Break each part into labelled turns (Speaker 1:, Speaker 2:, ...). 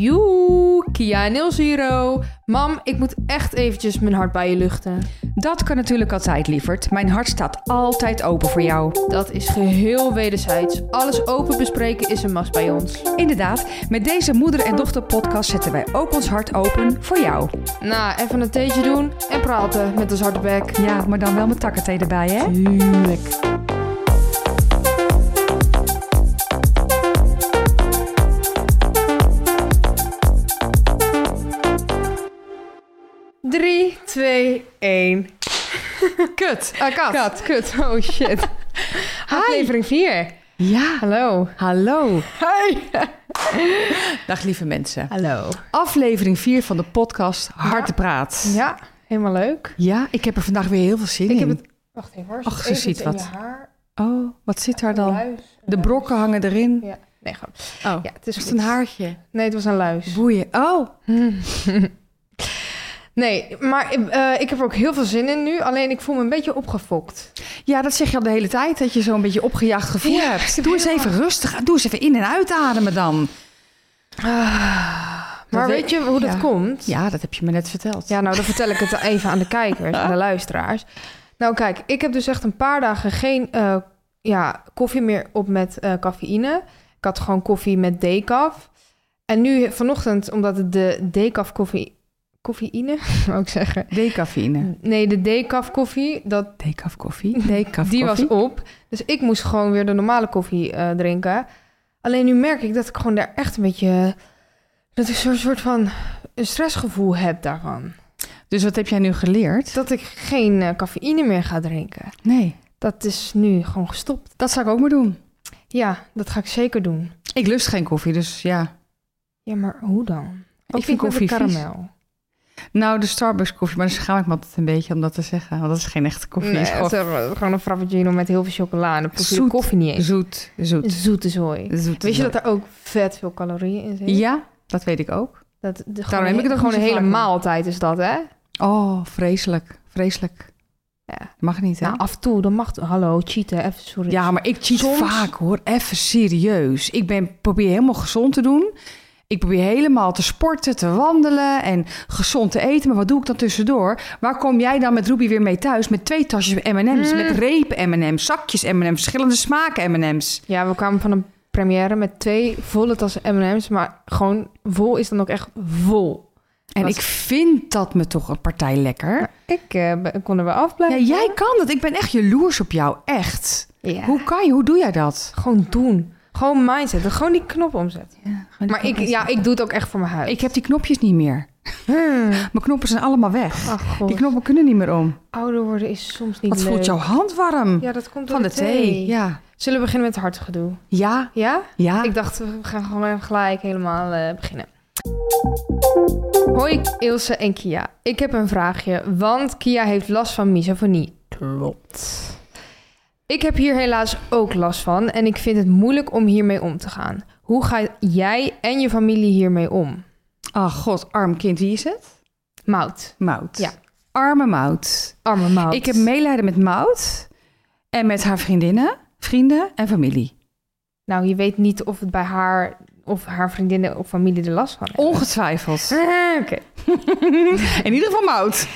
Speaker 1: Joe, Kia 00. Mam, ik moet echt eventjes mijn hart bij je luchten.
Speaker 2: Dat kan natuurlijk altijd, lieverd. Mijn hart staat altijd open voor jou.
Speaker 1: Dat is geheel wederzijds. Alles open bespreken is een must bij ons.
Speaker 2: Inderdaad, met deze moeder- en dochter-podcast zetten wij ook ons hart open voor jou.
Speaker 1: Nou, even een theetje doen en praten met ons harde bek.
Speaker 2: Ja, maar dan wel met takkenthee erbij, hè?
Speaker 1: Tuurlijk. Drie, twee, één.
Speaker 2: Kut.
Speaker 1: Ah, kat.
Speaker 2: Kat.
Speaker 1: Kut. Oh, shit. Aflevering 4.
Speaker 2: Ja,
Speaker 1: Hallo.
Speaker 2: hallo. Dag, lieve mensen.
Speaker 1: Hallo.
Speaker 2: Aflevering 4 van de podcast Harte Praat.
Speaker 1: Ja, helemaal leuk.
Speaker 2: Ja, ik heb er vandaag weer heel veel zin
Speaker 1: Ik heb
Speaker 2: in.
Speaker 1: het... Wacht even hoor.
Speaker 2: Ach,
Speaker 1: Zit
Speaker 2: ze
Speaker 1: even
Speaker 2: ziet
Speaker 1: iets in
Speaker 2: wat.
Speaker 1: je haar?
Speaker 2: Oh, wat zit daar dan?
Speaker 1: Luis. eh,
Speaker 2: De brokken hangen erin.
Speaker 1: Ja. Nee, gewoon.
Speaker 2: Oh,
Speaker 1: Ja, het is
Speaker 2: is het
Speaker 1: goed.
Speaker 2: een haartje?
Speaker 1: Nee, het was een luis.
Speaker 2: Boeien. Oh,
Speaker 1: Nee, maar eh, ik heb er ook heel veel zin in nu. Alleen ik voel me een beetje opgefokt.
Speaker 2: ja, dat zeg je al de hele tijd, dat je zo'n beetje opgejaagd gevoel
Speaker 1: Ja, ik
Speaker 2: hebt.
Speaker 1: heb
Speaker 2: Doe eens
Speaker 1: helemaal-
Speaker 2: even rustig. aan. Doe eens even in- en uitademen dan.
Speaker 1: Maar
Speaker 2: Ah, Dat
Speaker 1: weet
Speaker 2: weet-
Speaker 1: je hoe dat
Speaker 2: ja.
Speaker 1: komt?
Speaker 2: Ja, dat heb je me net verteld.
Speaker 1: Ja, nou, dan vertel ik het even aan de kijkers, aan de luisteraars. Nou, kijk, ik heb dus echt een paar dagen geen eh, ja, koffie meer op met eh, cafeïne. Ik had gewoon koffie met decaf. En nu vanochtend, omdat het de decaf koffie... Koffieïne, wou ik zeggen.
Speaker 2: Decafine.
Speaker 1: Nee, de decaf koffie, dat,
Speaker 2: Decaf koffie. Decaf
Speaker 1: die was
Speaker 2: koffie.
Speaker 1: op. Dus ik moest gewoon weer de normale koffie eh, drinken. Alleen nu merk ik dat ik gewoon daar echt een beetje... Dat ik zo'n soort van een stressgevoel heb daarvan.
Speaker 2: Dus wat heb jij nu geleerd?
Speaker 1: dat ik geen eh, cafeïne meer ga drinken.
Speaker 2: Nee,
Speaker 1: Dat is nu gewoon gestopt.
Speaker 2: dat zou ik ook maar doen.
Speaker 1: Ja, dat ga ik zeker doen.
Speaker 2: Ik lust geen koffie, dus ja.
Speaker 1: Ja, maar hoe dan? Ook
Speaker 2: ik vind
Speaker 1: niet
Speaker 2: koffie
Speaker 1: met de
Speaker 2: vies.
Speaker 1: karamel.
Speaker 2: Nou, de Starbucks koffie, maar dan schaam ik me altijd een beetje om dat te zeggen. Want dat is geen echte koffie.
Speaker 1: Nee,
Speaker 2: het is
Speaker 1: het
Speaker 2: gewoon
Speaker 1: is er- gewoon een frappuccino met heel veel chocola en dan proef je de
Speaker 2: oh. Zoet.
Speaker 1: koffie niet eens.
Speaker 2: zoet, zoet,
Speaker 1: Zoete zooi.
Speaker 2: zoet.
Speaker 1: Wist je dat er ook vet veel calorieën in zitten?
Speaker 2: Ja, dat weet ik ook.
Speaker 1: Dat, de, gewoon,
Speaker 2: Daarom heb ik het ook
Speaker 1: gewoon een
Speaker 2: niet zo
Speaker 1: hele
Speaker 2: vaak.
Speaker 1: maaltijd is dat, hè?
Speaker 2: Oh, vreselijk. Vreselijk.
Speaker 1: Ja.
Speaker 2: Mag niet, hè?
Speaker 1: Nou, af en toe, dan mag... Hallo, cheaten, even sorry.
Speaker 2: ja, maar ik cheat
Speaker 1: Soms-
Speaker 2: vaak, hoor. Even serieus. Ik ben, probeer helemaal gezond te doen. Ik probeer helemaal te sporten, te wandelen en gezond te eten. Maar wat doe ik dan tussendoor? Waar kom jij dan met Ruby weer mee thuis? Met twee tasjes M&M's,
Speaker 1: Mm.
Speaker 2: met repen M&M's, zakjes M&M's, verschillende smaken M&M's.
Speaker 1: Ja, we kwamen van een première met twee volle tassen M&M's, maar gewoon vol is dan ook echt vol.
Speaker 2: En
Speaker 1: Wat-
Speaker 2: ik vind dat me toch een partij lekker.
Speaker 1: Ik eh, ben- kon er wel
Speaker 2: Ja,
Speaker 1: afblijven.
Speaker 2: jij kan dat. Ik ben echt jaloers op jou. Echt.
Speaker 1: Ja.
Speaker 2: Hoe kan je? Hoe doe jij dat?
Speaker 1: Gewoon doen. Gewoon mindset. Gewoon die knop omzetten. Maar ik, ja, ik doe het ook echt voor mijn huis.
Speaker 2: ik heb die knopjes niet meer.
Speaker 1: Hmm.
Speaker 2: Mijn knoppen zijn allemaal weg.
Speaker 1: Ach god.
Speaker 2: Die knoppen kunnen niet meer om.
Speaker 1: Ouder worden is soms niet
Speaker 2: Wat
Speaker 1: leuk.
Speaker 2: voelt jouw hand warm?
Speaker 1: Ja, dat komt door
Speaker 2: Van de thee. Ja.
Speaker 1: Zullen we beginnen met het hartgedoe?
Speaker 2: Ja.
Speaker 1: Ja?
Speaker 2: Ja.
Speaker 1: Ik dacht, we gaan gewoon gelijk helemaal eh, beginnen. Hoi Ilse en Kia. Ik heb een vraagje, want Kia heeft last van misofonie. Klopt. Ik heb hier helaas ook last van en ik vind het moeilijk om hiermee om te gaan. Hoe ga jij en je familie hiermee om?
Speaker 2: Ach Oh, god, arm kind. Wie is het?
Speaker 1: Mout,
Speaker 2: Mout.
Speaker 1: Ja.
Speaker 2: Arme Mout.
Speaker 1: arme Mout.
Speaker 2: Ik heb meelijden met Mout. En met haar vriendinnen, vrienden en familie.
Speaker 1: Nou, je weet niet of het bij haar of haar vriendinnen of familie er last van hebben.
Speaker 2: Ongetwijfeld.
Speaker 1: Ah, Oké.
Speaker 2: In ieder geval Mout.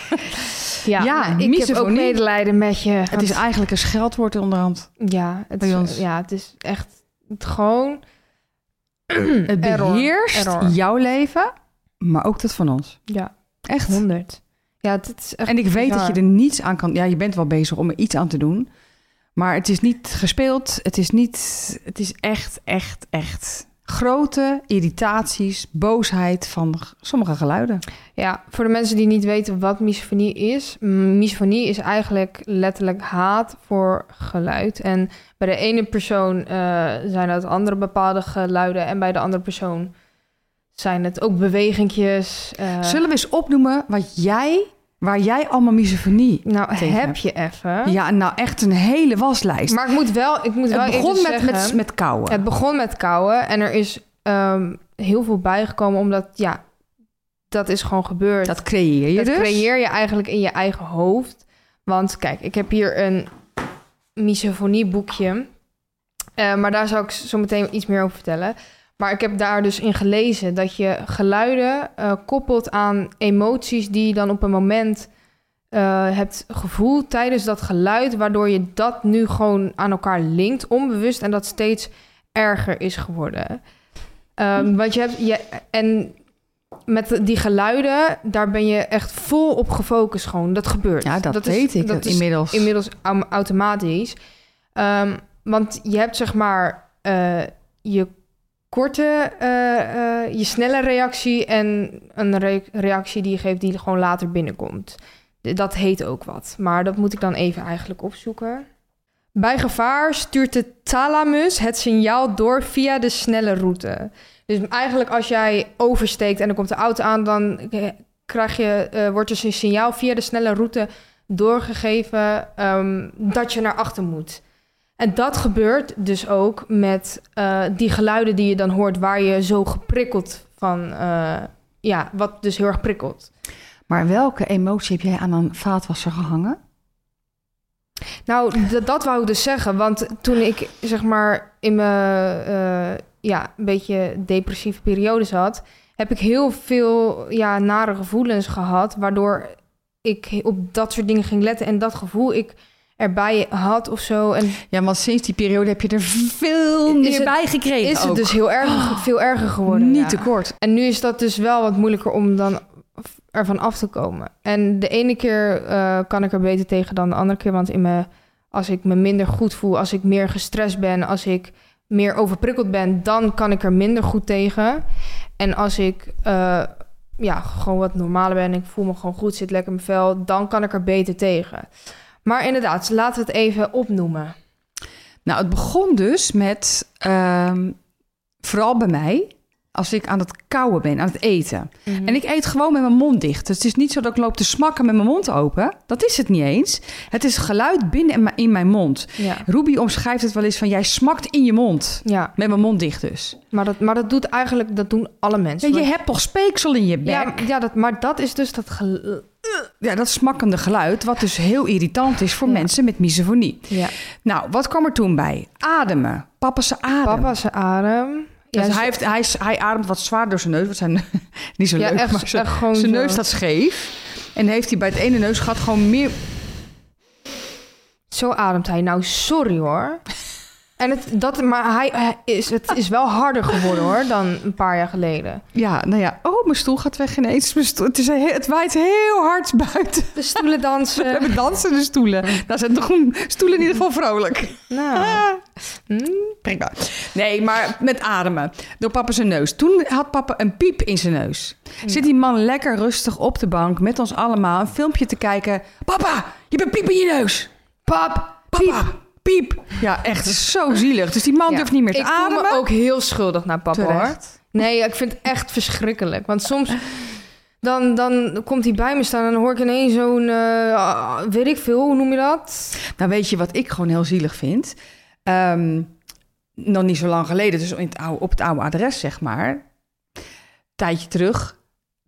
Speaker 1: Ja,
Speaker 2: Ja,
Speaker 1: nou, ik heb ook
Speaker 2: misofonie.
Speaker 1: medelijden met je.
Speaker 2: Het is eigenlijk een scheldwoord onderhand.
Speaker 1: Ja, het
Speaker 2: Bij
Speaker 1: is,
Speaker 2: ons.
Speaker 1: ja, het is echt het gewoon.
Speaker 2: Het
Speaker 1: Error.
Speaker 2: beheerst
Speaker 1: Error.
Speaker 2: jouw leven, maar ook dat van ons.
Speaker 1: Ja,
Speaker 2: Echt.
Speaker 1: 100. Ja, het, het is echt.
Speaker 2: En ik weet dat
Speaker 1: bizar.
Speaker 2: je er niets aan kan. Ja, je bent wel bezig om er iets aan te doen. Maar het is niet gespeeld. Het is niet. Het is echt, echt, echt. Grote irritaties, boosheid van g- sommige geluiden.
Speaker 1: Ja, voor de mensen die niet weten wat misofonie is. mm, Misofonie is eigenlijk letterlijk haat voor geluid. En bij de ene persoon eh, zijn dat andere bepaalde geluiden. En bij de andere persoon zijn het ook bewegingjes. eh,
Speaker 2: Zullen we eens opnoemen wat jij, waar jij allemaal misofonie.
Speaker 1: nou,
Speaker 2: tegen
Speaker 1: heb
Speaker 2: hebt?
Speaker 1: je even.
Speaker 2: Ja, nou echt een hele waslijst.
Speaker 1: Maar ik moet wel. Ik moet wel
Speaker 2: het begon
Speaker 1: even
Speaker 2: met,
Speaker 1: zeggen,
Speaker 2: met, met kauwen.
Speaker 1: Het begon met kouwen en er is ehm, heel veel bijgekomen omdat, ja, dat is gewoon gebeurd.
Speaker 2: dat creëer je
Speaker 1: Dat
Speaker 2: dus.
Speaker 1: creëer je eigenlijk in je eigen hoofd. Want kijk, ik heb hier een misofonieboekje. Eh maar daar zal ik zo meteen iets meer over vertellen. Maar ik heb daar dus in gelezen dat je geluiden eh, koppelt aan emoties die je dan op een moment eh, hebt gevoeld tijdens dat geluid, waardoor je dat nu gewoon aan elkaar linkt, onbewust, en dat steeds erger is geworden.
Speaker 2: Hm.
Speaker 1: Ehm, want je hebt je, en met die geluiden, daar ben je echt vol op gefocust gewoon. Dat gebeurt.
Speaker 2: Ja, dat,
Speaker 1: is-
Speaker 2: weet ik
Speaker 1: dat is
Speaker 2: inmiddels.
Speaker 1: inmiddels au- automatisch. Ehm, want je hebt zeg maar eh, je korte, eh, eh, je snelle reactie en een re- reactie die je geeft die gewoon later binnenkomt. D- Dat heet ook wat, maar dat moet ik dan even eigenlijk opzoeken. Bij gevaar stuurt de thalamus het signaal door via de snelle route. Dus eigenlijk als jij oversteekt en er komt de auto aan, dan eh, krijg je, eh, wordt dus een signaal via de snelle route doorgegeven ehm, dat je naar achter moet. En dat gebeurt dus ook met eh, die geluiden die je dan hoort, waar je zo geprikkeld van, eh, ja, wat dus heel erg prikkelt.
Speaker 2: Maar welke emotie heb jij aan een vaatwasser gehangen?
Speaker 1: Nou, d- dat wou ik dus zeggen, want toen ik zeg maar in mijn eh, ja, een beetje depressieve periode zat, heb ik heel veel ja, nare gevoelens gehad, waardoor ik op dat soort dingen ging letten en dat gevoel ik erbij had of zo. En
Speaker 2: Ja, want sinds die periode heb je er veel
Speaker 1: Is
Speaker 2: meer
Speaker 1: het-
Speaker 2: bij gekregen.
Speaker 1: is het
Speaker 2: ook. Oh,
Speaker 1: dus heel erg, veel erger geworden.
Speaker 2: niet
Speaker 1: ja.
Speaker 2: te kort.
Speaker 1: En nu is dat dus wel wat moeilijker om dan af- ervan af te komen. En de ene keer eh, kan ik er beter tegen dan de andere keer. Want in mijn, als ik me minder goed voel, als ik meer gestrest ben, als ik meer overprikkeld ben, dan kan ik er minder goed tegen. En als ik eh, ja, gewoon wat normaler ben, ik voel me gewoon goed, zit lekker in mijn vel, dan kan ik er beter tegen. Maar inderdaad, laten we het even opnoemen.
Speaker 2: Nou, het begon dus met, ehm, vooral bij mij, als ik aan het kauwen ben, aan het eten.
Speaker 1: Mhm.
Speaker 2: En ik eet gewoon met mijn mond dicht. Dus het is niet zo dat ik loop te smakken met mijn mond open. Dat is het niet eens. Het is geluid binnen en ma- in mijn mond.
Speaker 1: ja.
Speaker 2: Ruby omschrijft het wel eens van, jij smakt in je mond.
Speaker 1: Ja,
Speaker 2: Met mijn mond dicht dus.
Speaker 1: maar dat, maar dat doet eigenlijk, dat doen alle mensen.
Speaker 2: Ja, je hebt toch speeksel in je bek?
Speaker 1: Ja, ja dat, maar dat is dus dat gel-
Speaker 2: Ja, dat smakkende geluid, wat dus heel irritant is voor
Speaker 1: Ja.
Speaker 2: mensen met misofonie.
Speaker 1: ja.
Speaker 2: Nou, wat kwam er toen bij? Ademen. Papa zijn adem.
Speaker 1: papa zijn adem.
Speaker 2: Dus
Speaker 1: Ja,
Speaker 2: hij, heeft, hij, is- hij ademt wat zwaar door zijn neus. Wat zijn niet zo
Speaker 1: ja,
Speaker 2: leuk,
Speaker 1: echt,
Speaker 2: maar zijn,
Speaker 1: echt gewoon
Speaker 2: zijn
Speaker 1: zo.
Speaker 2: neus staat scheef. En heeft hij bij het ene neusgat gewoon meer...
Speaker 1: Zo ademt hij. Nou, sorry hoor. En het, dat, maar hij, hij is, het is wel harder geworden hoor dan een paar jaar geleden.
Speaker 2: Ja, nou ja. Oh, mijn stoel gaat weg ineens. Mijn stoel, het, is, heel- het waait heel hard buiten.
Speaker 1: De stoelen
Speaker 2: We
Speaker 1: dansen.
Speaker 2: hebben dansende stoelen. Daar zijn toch een- stoelen in ieder geval vrolijk.
Speaker 1: Nou, hm,
Speaker 2: Prima. Nee, maar met ademen. Door papa zijn neus. Toen had papa een piep in zijn neus. Zit die man lekker rustig op de bank met ons allemaal een filmpje te kijken. Papa, je hebt een piep in je neus.
Speaker 1: pap,
Speaker 2: Papa, piep. Ja, echt zo zielig. Dus die man
Speaker 1: Ja.
Speaker 2: durft niet meer te
Speaker 1: ik
Speaker 2: ademen.
Speaker 1: voel me ook heel schuldig naar papa hoor.
Speaker 2: Terecht.
Speaker 1: Nee, ik vind het echt verschrikkelijk. Want soms dan, dan komt hij bij me staan en dan hoor ik ineens zo'n, eh, weet ik veel, hoe noem je dat?
Speaker 2: Nou, weet je wat ik gewoon heel zielig vind? Ehm, nog niet zo lang geleden, dus in het oude, op het oude adres, zeg maar. Tijdje terug.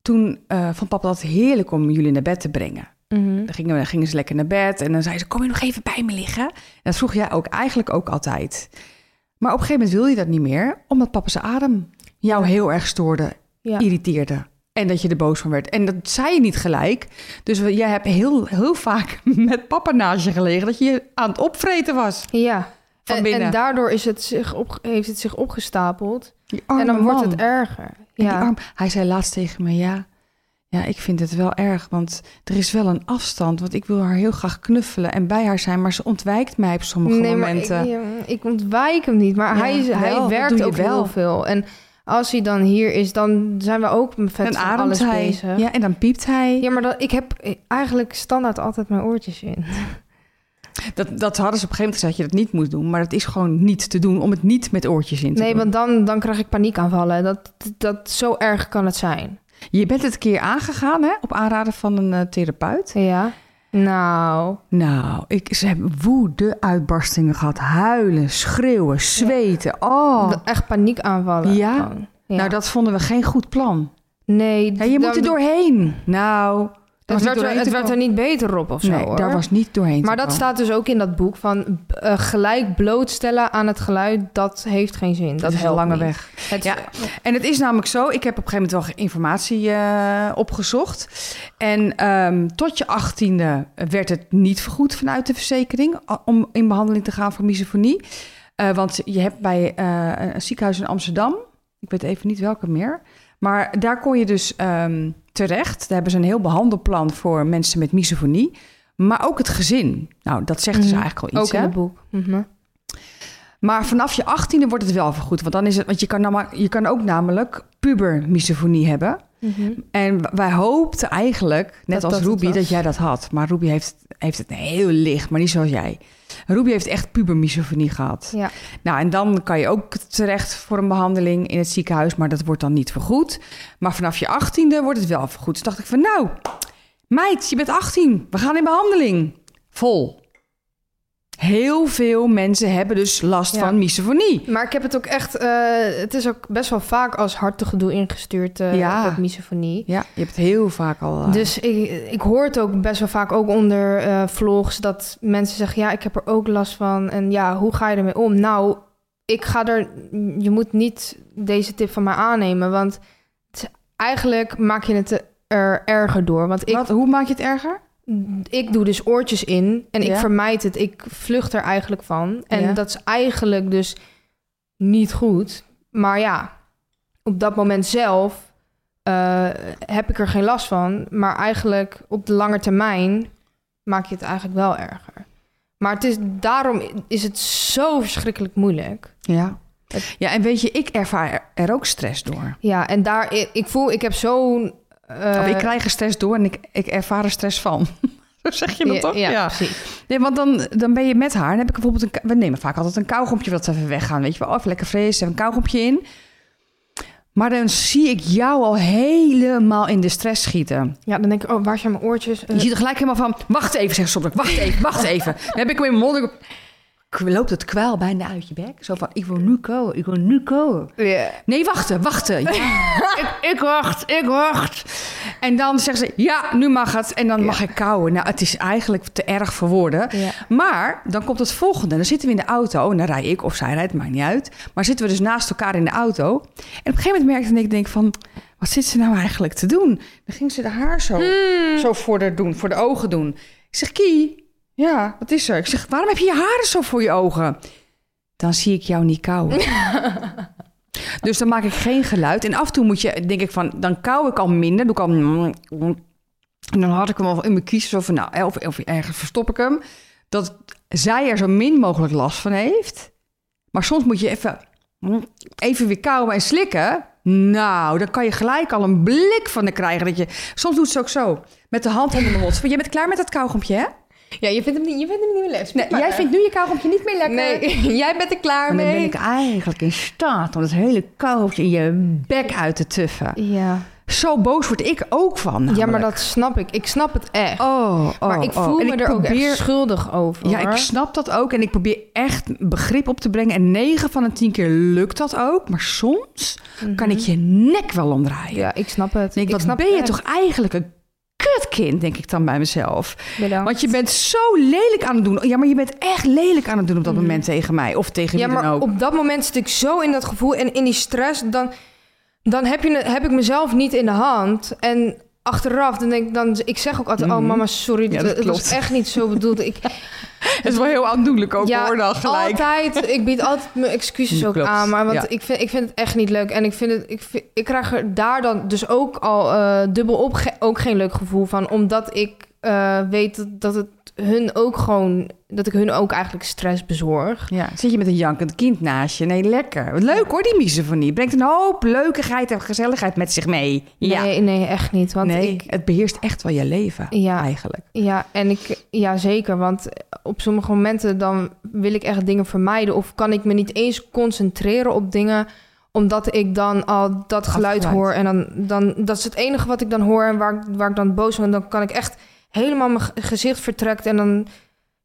Speaker 2: Toen eh, vond papa dat heerlijk om jullie naar bed te brengen. Dan gingen, we, dan gingen ze lekker naar bed en dan zei ze: Kom je nog even bij me liggen? En dat vroeg jij ook eigenlijk ook altijd. Maar op een gegeven moment wilde je dat niet meer, omdat papa zijn adem jou
Speaker 1: Ja.
Speaker 2: heel erg stoorde,
Speaker 1: Ja.
Speaker 2: irriteerde. En dat je er boos van werd. En dat zei je niet gelijk. Dus we- jij hebt heel, heel vaak met papa naast je gelegen dat je aan het opvreten was.
Speaker 1: Ja.
Speaker 2: Van
Speaker 1: en,
Speaker 2: binnen.
Speaker 1: en daardoor is het zich op, heeft het zich opgestapeld.
Speaker 2: Die arme
Speaker 1: en dan wordt
Speaker 2: man.
Speaker 1: het erger.
Speaker 2: En die
Speaker 1: Ja.
Speaker 2: arm- hij zei laatst tegen me, ja, ja, ik vind het wel erg, want er is wel een afstand. Want ik wil haar heel graag knuffelen en bij haar zijn, maar ze ontwijkt mij op sommige
Speaker 1: nee, maar ik,
Speaker 2: momenten.
Speaker 1: ja, ik ontwijk hem niet. Maar
Speaker 2: Ja,
Speaker 1: hij, is-
Speaker 2: wel,
Speaker 1: hij
Speaker 2: dat doe
Speaker 1: werkt
Speaker 2: je
Speaker 1: ook heel
Speaker 2: wel.
Speaker 1: veel. En als hij dan hier is, dan zijn we ook met vet
Speaker 2: Dan
Speaker 1: van
Speaker 2: ademt
Speaker 1: alles
Speaker 2: hij.
Speaker 1: bezig. Ja,
Speaker 2: Ja, en dan piept hij.
Speaker 1: maar dat, ik heb eigenlijk standaard altijd mijn oortjes in.
Speaker 2: Dat, dat hadden ze op een gegeven moment gezegd dat je dat niet moest doen. Maar dat is gewoon niet te doen om het niet met oortjes in te
Speaker 1: Nee,
Speaker 2: doen.
Speaker 1: want dan, dan krijg ik paniekaanvallen. Dat, dat, zo erg kan het zijn.
Speaker 2: Je bent het een keer aangegaan hè, op aanraden van een eh, therapeut.
Speaker 1: Ja. Nou,
Speaker 2: Nou, ik, ze hebben woede uitbarstingen gehad. Huilen, schreeuwen, zweten. Oh. Nou,
Speaker 1: dat- echt paniekaanvallen.
Speaker 2: Ja?
Speaker 1: gewoon. ja.
Speaker 2: Nou, dat vonden we geen goed plan.
Speaker 1: nee,
Speaker 2: Ja, je moet
Speaker 1: dan-
Speaker 2: er doorheen. Nou, was
Speaker 1: het
Speaker 2: niet
Speaker 1: werd, er,
Speaker 2: doorheen
Speaker 1: het
Speaker 2: te
Speaker 1: werd er
Speaker 2: komen.
Speaker 1: niet beter op of zo.
Speaker 2: Nee,
Speaker 1: hoor.
Speaker 2: daar was niet doorheen
Speaker 1: maar
Speaker 2: te
Speaker 1: dat
Speaker 2: komen.
Speaker 1: staat dus ook in dat boek van eh, gelijk blootstellen aan het geluid, dat heeft geen zin. Dat,
Speaker 2: dat is een
Speaker 1: helpt
Speaker 2: lange
Speaker 1: niet.
Speaker 2: weg.
Speaker 1: Het-
Speaker 2: Ja. En het is namelijk zo, ik heb op een gegeven moment wel informatie eh, opgezocht. En ehm, tot je achttiende werd het niet vergoed vanuit de verzekering a- om in behandeling te gaan voor misofonie. Eh, want je hebt bij eh, een- een ziekenhuis in Amsterdam, ik weet even niet welke meer, maar daar kon je dus ehm, terecht. Daar hebben ze een heel behandelplan voor mensen met misofonie. Maar ook het gezin. Nou, dat zegt dus
Speaker 1: Mhm.
Speaker 2: eigenlijk al
Speaker 1: ook
Speaker 2: iets.
Speaker 1: in
Speaker 2: hè?
Speaker 1: het boek. Mhm.
Speaker 2: Maar vanaf je 18e wordt het wel vergoed. Want, dan is het, want je, kan namelijk, je kan ook namelijk pubermisofonie hebben. En w- wij hoopten eigenlijk, net
Speaker 1: Dat
Speaker 2: als
Speaker 1: dat het
Speaker 2: Ruby,
Speaker 1: was.
Speaker 2: dat jij dat had. Maar Ruby heeft, heeft het heel licht, maar niet zoals jij. Ruby heeft echt pubermisofonie gehad.
Speaker 1: Ja.
Speaker 2: Nou, en dan kan je ook terecht voor een behandeling in het ziekenhuis, maar dat wordt dan niet vergoed. Maar vanaf je 18e wordt het wel vergoed. Dus dacht ik van, nou, meid, je bent 18, we gaan in behandeling. Vol. Heel veel mensen hebben dus last
Speaker 1: Ja.
Speaker 2: van misofonie.
Speaker 1: Maar ik heb het ook echt, eh, het is ook best wel vaak als hartegedoe ingestuurd, eh
Speaker 2: Ja.
Speaker 1: dat misofonie.
Speaker 2: Ja, je hebt het heel vaak al. eh,
Speaker 1: Dus ik, ik hoor het ook best wel vaak ook onder eh, vlogs dat mensen zeggen: Ja, ik heb er ook last van. En ja, hoe ga je ermee om? Nou, ik ga er. Je moet niet deze tip van mij aannemen. Want het is- eigenlijk maak je het er erger door. Want ik,
Speaker 2: Wat, hoe maak je het erger?
Speaker 1: ik doe dus oortjes in en ik
Speaker 2: Ja.
Speaker 1: vermijd het. Ik vlucht er eigenlijk van. En
Speaker 2: Ja.
Speaker 1: dat is eigenlijk dus niet goed. Maar ja, op dat moment zelf eh, heb ik er geen last van. Maar eigenlijk op de lange termijn maak je het eigenlijk wel erger. Maar het is, daarom is het zo verschrikkelijk moeilijk.
Speaker 2: Ja.
Speaker 1: Het-
Speaker 2: Ja, en weet je, ik ervaar er- er ook stress door.
Speaker 1: Ja, en daar, ik, ik voel, ik heb zo'n... eh,
Speaker 2: Of ik krijg er stress door en ik, ik ervaar er stress van. Zo zeg je dat
Speaker 1: ja,
Speaker 2: toch?
Speaker 1: Ja, precies.
Speaker 2: Nee, want dan, dan ben je met haar. Dan heb ik bijvoorbeeld een. ka- We nemen vaak altijd een kauwgompje dat we even weggaan. Weet je wel, even lekker fris. Even een kauwgompje in. Maar dan zie ik jou al helemaal in de stress schieten.
Speaker 1: Ja, dan denk ik, oh, waar zijn mijn oortjes? Eh,
Speaker 2: Je ziet er gelijk helemaal van. Wacht even, zeg soms. ook, Wacht even, wacht even. Dan heb ik hem in mijn mond. Ik loop dat kwaal bijna uit je bek. Zo van: ik wil nu komen, ik wil nu komen.
Speaker 1: ja.
Speaker 2: Nee, wachten, wachten. Ja, ik, ik wacht, ik wacht. En dan zeggen ze, ja, nu mag het. En dan mag ik kauwen. Nou, het is eigenlijk te erg voor woorden.
Speaker 1: Ja.
Speaker 2: Maar dan komt het volgende. Dan zitten we in de auto. En dan rij ik of zij rijdt, maakt niet uit. Maar zitten we dus naast elkaar in de auto. En op een gegeven moment merkte ik, denk van... Wat zit ze nou eigenlijk te doen? Dan ging ze de haar zo, zo voor, de doen, voor de ogen doen. Ik zeg, Kie, ja, wat is er? Ik zeg, waarom heb je je haren zo voor je ogen? Dan zie ik jou niet kauwen. Dus dan maak ik geen geluid. En af en toe moet je, denk ik van, dan kauw ik al minder. Doe ik al... mm, En dan had ik hem al in mijn kiezen. Of, nou, hè, of, of ergens verstop ik hem. Dat zij er zo min mogelijk last van heeft. Maar soms moet je even, even weer kauwen en slikken. Nou, dan kan je gelijk al een blik van de krijgen. Dat je, soms doet ze ook zo. Met de hand onder de mond. Van, jij bent klaar met dat kauwgompje, hè?
Speaker 1: Ja, je vindt hem niet, je vindt hem niet meer leuk.
Speaker 2: Nee, jij vindt nu je kauwgompje niet meer lekker.
Speaker 1: Nee, jij bent er klaar
Speaker 2: En dan
Speaker 1: mee.
Speaker 2: Oh, ben ik eigenlijk in staat om dat hele kauwgompje in je bek uit te tuffen.
Speaker 1: Ja.
Speaker 2: Zo boos word ik ook van.
Speaker 1: ja, maar
Speaker 2: namelijk.
Speaker 1: dat snap ik. Ik snap het echt.
Speaker 2: Oh, oh,
Speaker 1: maar ik
Speaker 2: oh.
Speaker 1: voel
Speaker 2: En
Speaker 1: me
Speaker 2: ik
Speaker 1: er ook
Speaker 2: probeer-
Speaker 1: echt schuldig over.
Speaker 2: Ja, ik
Speaker 1: hoor.
Speaker 2: snap dat ook. En ik probeer echt begrip op te brengen. En 9 van de 10 keer lukt dat ook. Maar soms kan ik je nek wel omdraaien.
Speaker 1: Mhm. Ja, ik snap het.
Speaker 2: Denk ik, wat
Speaker 1: snap
Speaker 2: ben je
Speaker 1: het
Speaker 2: toch eigenlijk een kutkind, denk ik dan bij mezelf.
Speaker 1: echt, Bedankt.
Speaker 2: Want je bent zo lelijk aan het doen. Ja, maar je bent echt lelijk aan het doen op dat moment tegen mij. Of tegen
Speaker 1: Mhm. Ja,
Speaker 2: wie dan
Speaker 1: maar
Speaker 2: ook.
Speaker 1: op dat moment zit ik zo in dat gevoel en in die stress. Dan, dan heb, je, heb ik mezelf niet in de hand. En achteraf, dan denk ik dan... Ik zeg ook altijd, oh mama, sorry.
Speaker 2: Mhm. Ja,
Speaker 1: dat-
Speaker 2: dat
Speaker 1: het was
Speaker 2: klopt.
Speaker 1: echt niet zo bedoeld. Ik,
Speaker 2: Het is wel heel aandoenlijk ook hoor dan gelijk.
Speaker 1: altijd. Ik bied altijd mijn excuses ook
Speaker 2: Klopt,
Speaker 1: aan. Maar want
Speaker 2: ja.
Speaker 1: ik, vind, ik vind het echt niet leuk. En ik, vind het, ik, vind- ik krijg er daar dan dus ook al eh, dubbel op ge- ook geen leuk gevoel van. Omdat ik eh, weet dat, dat het hun ook gewoon... Dat ik hun ook eigenlijk stress bezorg.
Speaker 2: Ja, zit je met een jankend kind naast je. Nee, lekker. Wat leuk hoor, die misofonie. Brengt een hoop leukigheid en gezelligheid met zich mee. Ja.
Speaker 1: Nee, nee, echt niet. Want
Speaker 2: nee,
Speaker 1: ik...
Speaker 2: het beheerst echt wel je leven
Speaker 1: Ja.
Speaker 2: eigenlijk.
Speaker 1: Ja, en ik... Ja, zeker. Want op sommige momenten dan wil ik echt dingen vermijden. Of kan ik me niet eens concentreren op dingen omdat ik dan al dat geluid
Speaker 2: Afgeleid.
Speaker 1: hoor. En dan, dan, dat is het enige wat ik dan hoor en waar, ik- waar ik dan boos van... ben. dan kan ik echt helemaal mijn ge- gezicht vertrekt en dan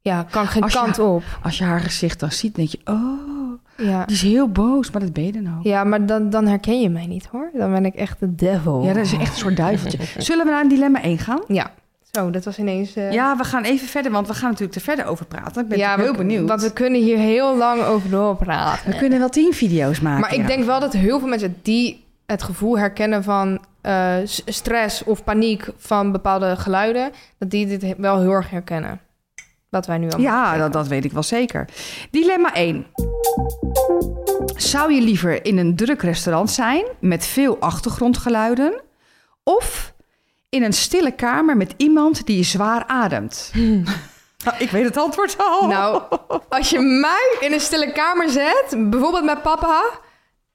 Speaker 1: ja, kan ik geen
Speaker 2: Als je-
Speaker 1: kant op.
Speaker 2: Als je haar gezicht dan ziet, denk je, oh,
Speaker 1: Ja,
Speaker 2: die is heel boos, maar dat ben je dan ook. Ja.
Speaker 1: ja maar dan, dan herken je mij niet, hoor. Dan ben ik echt de devil.
Speaker 2: dat is echt een soort duiveltje. Zullen we naar een dilemma 1 gaan?
Speaker 1: Ja. Zo, dat was ineens... eh,
Speaker 2: Ja, we gaan even verder, want we gaan natuurlijk er verder over praten. Ik ben
Speaker 1: ja,
Speaker 2: natuurlijk heel
Speaker 1: we-
Speaker 2: benieuwd.
Speaker 1: Want we kunnen hier heel lang over doorpraten.
Speaker 2: We kunnen wel tien video's maken.
Speaker 1: Maar ik
Speaker 2: ja.
Speaker 1: denk wel dat heel veel mensen die het gevoel herkennen van eh, s- stress of paniek van bepaalde geluiden, dat die dit he- wel heel erg herkennen. Wat wij nu allemaal.
Speaker 2: Ja, dat, dat weet ik wel zeker. Dilemma 1. Zou je liever in een druk restaurant zijn met veel achtergrondgeluiden? Of in een stille kamer met iemand die zwaar ademt? Nou, Ik weet het antwoord al.
Speaker 1: Nou, als je mij in een stille kamer zet, bijvoorbeeld met papa,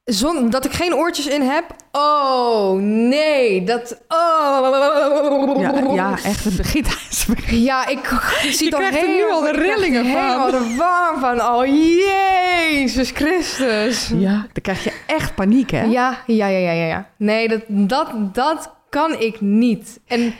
Speaker 1: zonder dat ik geen oortjes in heb. Oh nee, dat. Oh.
Speaker 2: ja, ja, echt, het begint.
Speaker 1: Ja, ik zie
Speaker 2: Je
Speaker 1: toch
Speaker 2: krijgt er
Speaker 1: heel-
Speaker 2: nu al de
Speaker 1: ik krijg er
Speaker 2: rillingen van.
Speaker 1: helemaal de warm van. Oh, Jezus Christus.
Speaker 2: Ja, dan krijg je echt paniek, hè?
Speaker 1: Ja, ja, ja, ja, ja, ja. Nee, dat, dat, dat kan ik niet. En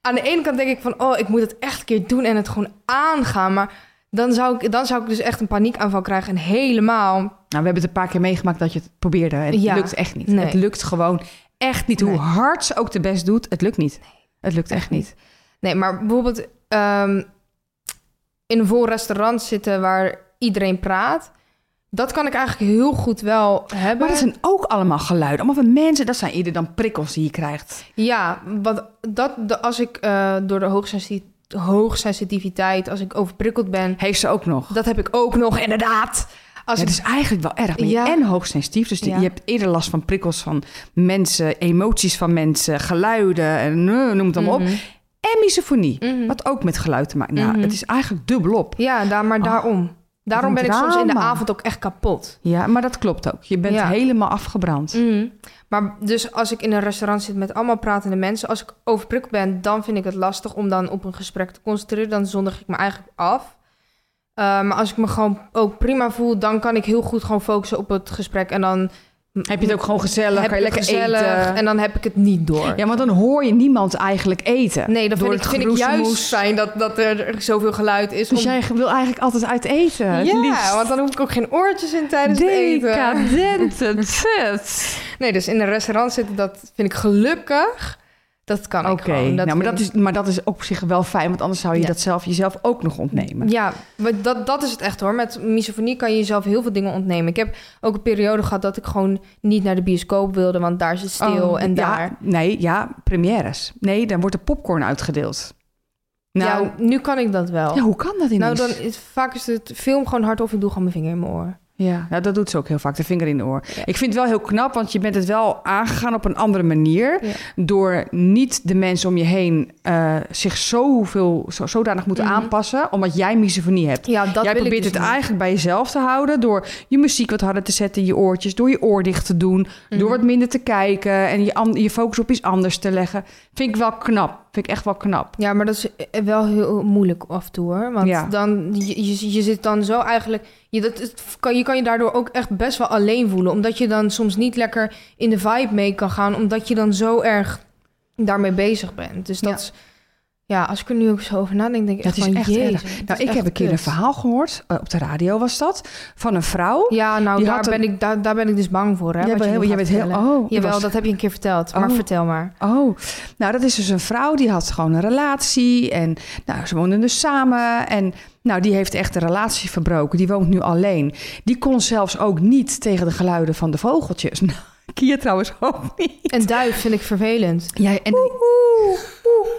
Speaker 1: aan de ene kant denk ik van, oh, ik moet het echt een keer doen en het gewoon aangaan. Maar dan zou ik, dan zou ik dus echt een paniekaanval krijgen en helemaal.
Speaker 2: Nou, we hebben het een paar keer meegemaakt dat je het probeerde. Het
Speaker 1: Ja.
Speaker 2: lukt echt niet.
Speaker 1: Nee.
Speaker 2: Het lukt gewoon echt niet. Hoe
Speaker 1: Nee.
Speaker 2: hard ze ook de best doet, het lukt niet. Het lukt echt niet.
Speaker 1: Nee, maar bijvoorbeeld ehm, in een vol restaurant zitten waar iedereen praat. Dat kan ik eigenlijk heel goed wel hebben.
Speaker 2: Maar dat zijn ook allemaal geluiden. Allemaal van mensen. Dat zijn eerder dan prikkels die je krijgt.
Speaker 1: Ja, want dat, de- als ik eh, door de hoogsensi- hoogsensitiviteit, als ik overprikkeld ben,
Speaker 2: Heeft ze ook nog.
Speaker 1: dat heb ik ook nog inderdaad. Als
Speaker 2: Ja,
Speaker 1: ik
Speaker 2: het is eigenlijk wel erg. Maar je
Speaker 1: Ja.
Speaker 2: en hoogsensitief. Dus die-
Speaker 1: Ja.
Speaker 2: je hebt eerder last van prikkels van mensen. Emoties van mensen. Geluiden. En, eh, noem het allemaal op. En misofonie.
Speaker 1: Mhm.
Speaker 2: Wat ook met geluid te maken. Nou,
Speaker 1: Mhm.
Speaker 2: Het is eigenlijk dubbelop.
Speaker 1: Ja, daar, maar
Speaker 2: Oh,
Speaker 1: daarom. Daarom
Speaker 2: een
Speaker 1: ben ik soms in de
Speaker 2: drama.
Speaker 1: avond ook echt kapot.
Speaker 2: Ja, Mhm. maar dat klopt ook. Je bent
Speaker 1: Ja.
Speaker 2: helemaal afgebrand.
Speaker 1: Maar dus als ik in een restaurant zit met allemaal pratende mensen, als ik overprikkeld ben, dan vind ik het lastig om dan op een gesprek te concentreren. Dan zondig ik me eigenlijk af. Eh, maar als ik me gewoon ook prima voel, dan kan ik heel goed gewoon focussen op het gesprek. En dan
Speaker 2: Heb je het ook gewoon gezellig?
Speaker 1: heb
Speaker 2: kan
Speaker 1: ik
Speaker 2: je
Speaker 1: het
Speaker 2: lekker
Speaker 1: gezellig
Speaker 2: eten?
Speaker 1: en dan heb ik het niet door.
Speaker 2: Ja, want dan hoor je niemand eigenlijk eten.
Speaker 1: nee, dat
Speaker 2: door
Speaker 1: vind ik,
Speaker 2: het
Speaker 1: vind ik juist
Speaker 2: geroezemoes.
Speaker 1: fijn dat, dat er zoveel geluid is.
Speaker 2: Dus
Speaker 1: om-
Speaker 2: jij wil eigenlijk altijd uit eten. het liefst.
Speaker 1: ja, want dan hoef ik ook geen oortjes in tijdens het eten.
Speaker 2: Decadente zit.
Speaker 1: Nee, dus in een restaurant zitten, dat vind ik gelukkig. Dat kan
Speaker 2: Oké,
Speaker 1: ik gewoon.
Speaker 2: nou, maar,
Speaker 1: vind
Speaker 2: dat
Speaker 1: ik-
Speaker 2: is- maar dat is op zich wel fijn, want anders zou je
Speaker 1: Ja.
Speaker 2: dat zelf jezelf ook nog ontnemen.
Speaker 1: Ja, maar dat, dat is het echt hoor. Met misofonie kan je jezelf heel veel dingen ontnemen. Ik heb ook een periode gehad dat ik gewoon niet naar de bioscoop wilde, want daar is het stil
Speaker 2: Oh,
Speaker 1: en
Speaker 2: ja,
Speaker 1: daar.
Speaker 2: Nee, ja, premières. Nee, dan wordt er popcorn uitgedeeld. Nou,
Speaker 1: ja, nu kan ik dat wel.
Speaker 2: ja, hoe kan dat
Speaker 1: nou,
Speaker 2: ineens?
Speaker 1: dan is, vaak is het film gewoon hard of ik doe gewoon mijn vinger in mijn oor.
Speaker 2: Ja, nou, dat doet ze ook heel vaak, de vinger in de oor. Ik vind het wel heel knap, want je bent het wel aangegaan op een andere manier.
Speaker 1: Ja.
Speaker 2: Door niet de mensen om je heen eh, zich zoveel, zo, zodanig moeten
Speaker 1: Mhm.
Speaker 2: aanpassen, omdat jij misofonie hebt.
Speaker 1: Ja, dat
Speaker 2: Jij
Speaker 1: wil ik
Speaker 2: probeert
Speaker 1: dus
Speaker 2: het
Speaker 1: niet.
Speaker 2: eigenlijk bij jezelf te houden door je muziek wat harder te zetten, je oortjes, door je oor dicht te doen,
Speaker 1: Mhm.
Speaker 2: door wat minder te kijken en je, an- je focus op iets anders te leggen. Vind ik wel knap. Vind ik echt wel knap.
Speaker 1: Ja, maar dat is eh, wel heel moeilijk af en toe hoor. Want
Speaker 2: Ja.
Speaker 1: dan, je, je, je zit dan zo eigenlijk... Je, dat, het kan, je kan je daardoor ook echt best wel alleen voelen. Omdat je dan soms niet lekker in de vibe mee kan gaan. Omdat je dan zo erg daarmee bezig bent. Dus dat
Speaker 2: Ja.
Speaker 1: is... Ja, als ik er nu ook zo over nadenk, denk ik
Speaker 2: Dat
Speaker 1: echt
Speaker 2: is
Speaker 1: van...
Speaker 2: echt
Speaker 1: jezus,
Speaker 2: erg.
Speaker 1: dat is
Speaker 2: Nou, ik
Speaker 1: echt
Speaker 2: heb een keer een
Speaker 1: kut.
Speaker 2: verhaal gehoord, eh, op de radio was dat, van een vrouw.
Speaker 1: Ja, nou,
Speaker 2: Die
Speaker 1: daar
Speaker 2: had een-
Speaker 1: ben, ik, daar, daar ben ik dus bang voor, hè?
Speaker 2: Jij
Speaker 1: wat
Speaker 2: bent
Speaker 1: je
Speaker 2: heel,
Speaker 1: nu
Speaker 2: jij
Speaker 1: gaat
Speaker 2: bent heel,
Speaker 1: vertellen.
Speaker 2: oh, je
Speaker 1: Jawel,
Speaker 2: was-
Speaker 1: dat heb je een keer verteld. Maar
Speaker 2: Oh.
Speaker 1: vertel maar.
Speaker 2: Oh, nou dat is dus een vrouw die had gewoon een relatie en nou, ze woonden dus samen en nou die heeft echt een relatie verbroken. Die woont nu alleen. Die kon zelfs ook niet tegen de geluiden van de vogeltjes. Nou, Kia trouwens ook niet.
Speaker 1: Een duif vind ik vervelend.
Speaker 2: Jij en
Speaker 1: Oeh, oeh, oeh, oeh, oeh.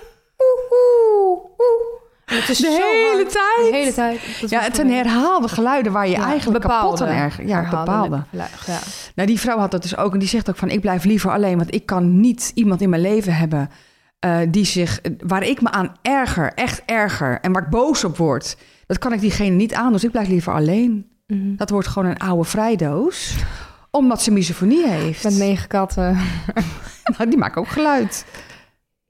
Speaker 1: En Het is
Speaker 2: de
Speaker 1: zo
Speaker 2: hele
Speaker 1: hard.
Speaker 2: tijd.
Speaker 1: De hele tijd. Dat
Speaker 2: Ja,
Speaker 1: was
Speaker 2: het
Speaker 1: voor
Speaker 2: zijn
Speaker 1: mij-
Speaker 2: herhaalde geluiden waar je
Speaker 1: Ja,
Speaker 2: eigenlijk kapot aan
Speaker 1: bepaalde.
Speaker 2: erg. Ja, bepaalde.
Speaker 1: Ja, ja.
Speaker 2: Nou, die vrouw had dat dus ook. En die zegt ook van, ik blijf liever alleen. Want ik kan niet iemand in mijn leven hebben eh, die zich, waar ik me aan erger. Echt erger. En waar ik boos op word. Dat kan ik diegene niet aan. Dus ik blijf liever alleen.
Speaker 1: Mhm.
Speaker 2: Dat wordt gewoon een oude vrijdoos. Omdat ze misofonie heeft.
Speaker 1: Met negen katten.
Speaker 2: Nou, die maken ook geluid.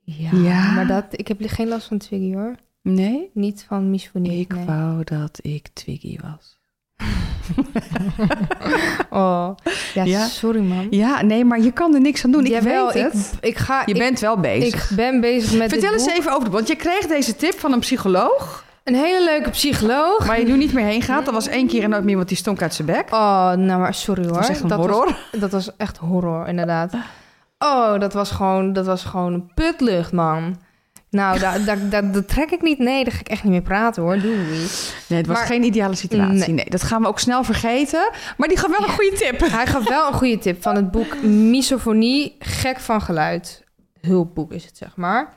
Speaker 1: Ja,
Speaker 2: Ja.
Speaker 1: maar dat, ik heb geen last van Twiggy hoor.
Speaker 2: Nee?
Speaker 1: Niet van misofonie.
Speaker 2: Ik
Speaker 1: nee.
Speaker 2: wou dat ik Twiggy was.
Speaker 1: Oh, ja,
Speaker 2: Ja.
Speaker 1: sorry man.
Speaker 2: Ja, nee, maar je kan er niks aan doen. Ik
Speaker 1: Jawel,
Speaker 2: weet het.
Speaker 1: Ik, ik ga,
Speaker 2: Je
Speaker 1: ik,
Speaker 2: bent wel bezig.
Speaker 1: ik ben bezig met
Speaker 2: Vertel
Speaker 1: dit
Speaker 2: eens
Speaker 1: boek.
Speaker 2: even over de... Want je kreeg deze tip van een psycholoog.
Speaker 1: Een hele leuke psycholoog.
Speaker 2: Waar je nu niet meer heen gaat. Er was één keer en nooit meer iemand die stonk uit zijn bek.
Speaker 1: Oh, nou maar sorry hoor.
Speaker 2: Dat was echt een
Speaker 1: dat
Speaker 2: horror.
Speaker 1: Was, dat was echt horror, inderdaad. Oh, dat was gewoon, dat was gewoon een putlucht, man. Nou, dat da, da, dat trek ik niet. Nee, daar ga ik echt niet meer praten hoor. Doei.
Speaker 2: Nee, het was
Speaker 1: Maar-
Speaker 2: geen ideale situatie. Nee.
Speaker 1: Nee.
Speaker 2: dat gaan we ook snel vergeten. Maar die gaf wel een goede tip.
Speaker 1: Hij gaf wel een goede tip van het boek Misofonie, gek van geluid. Hulpboek is het, zeg maar.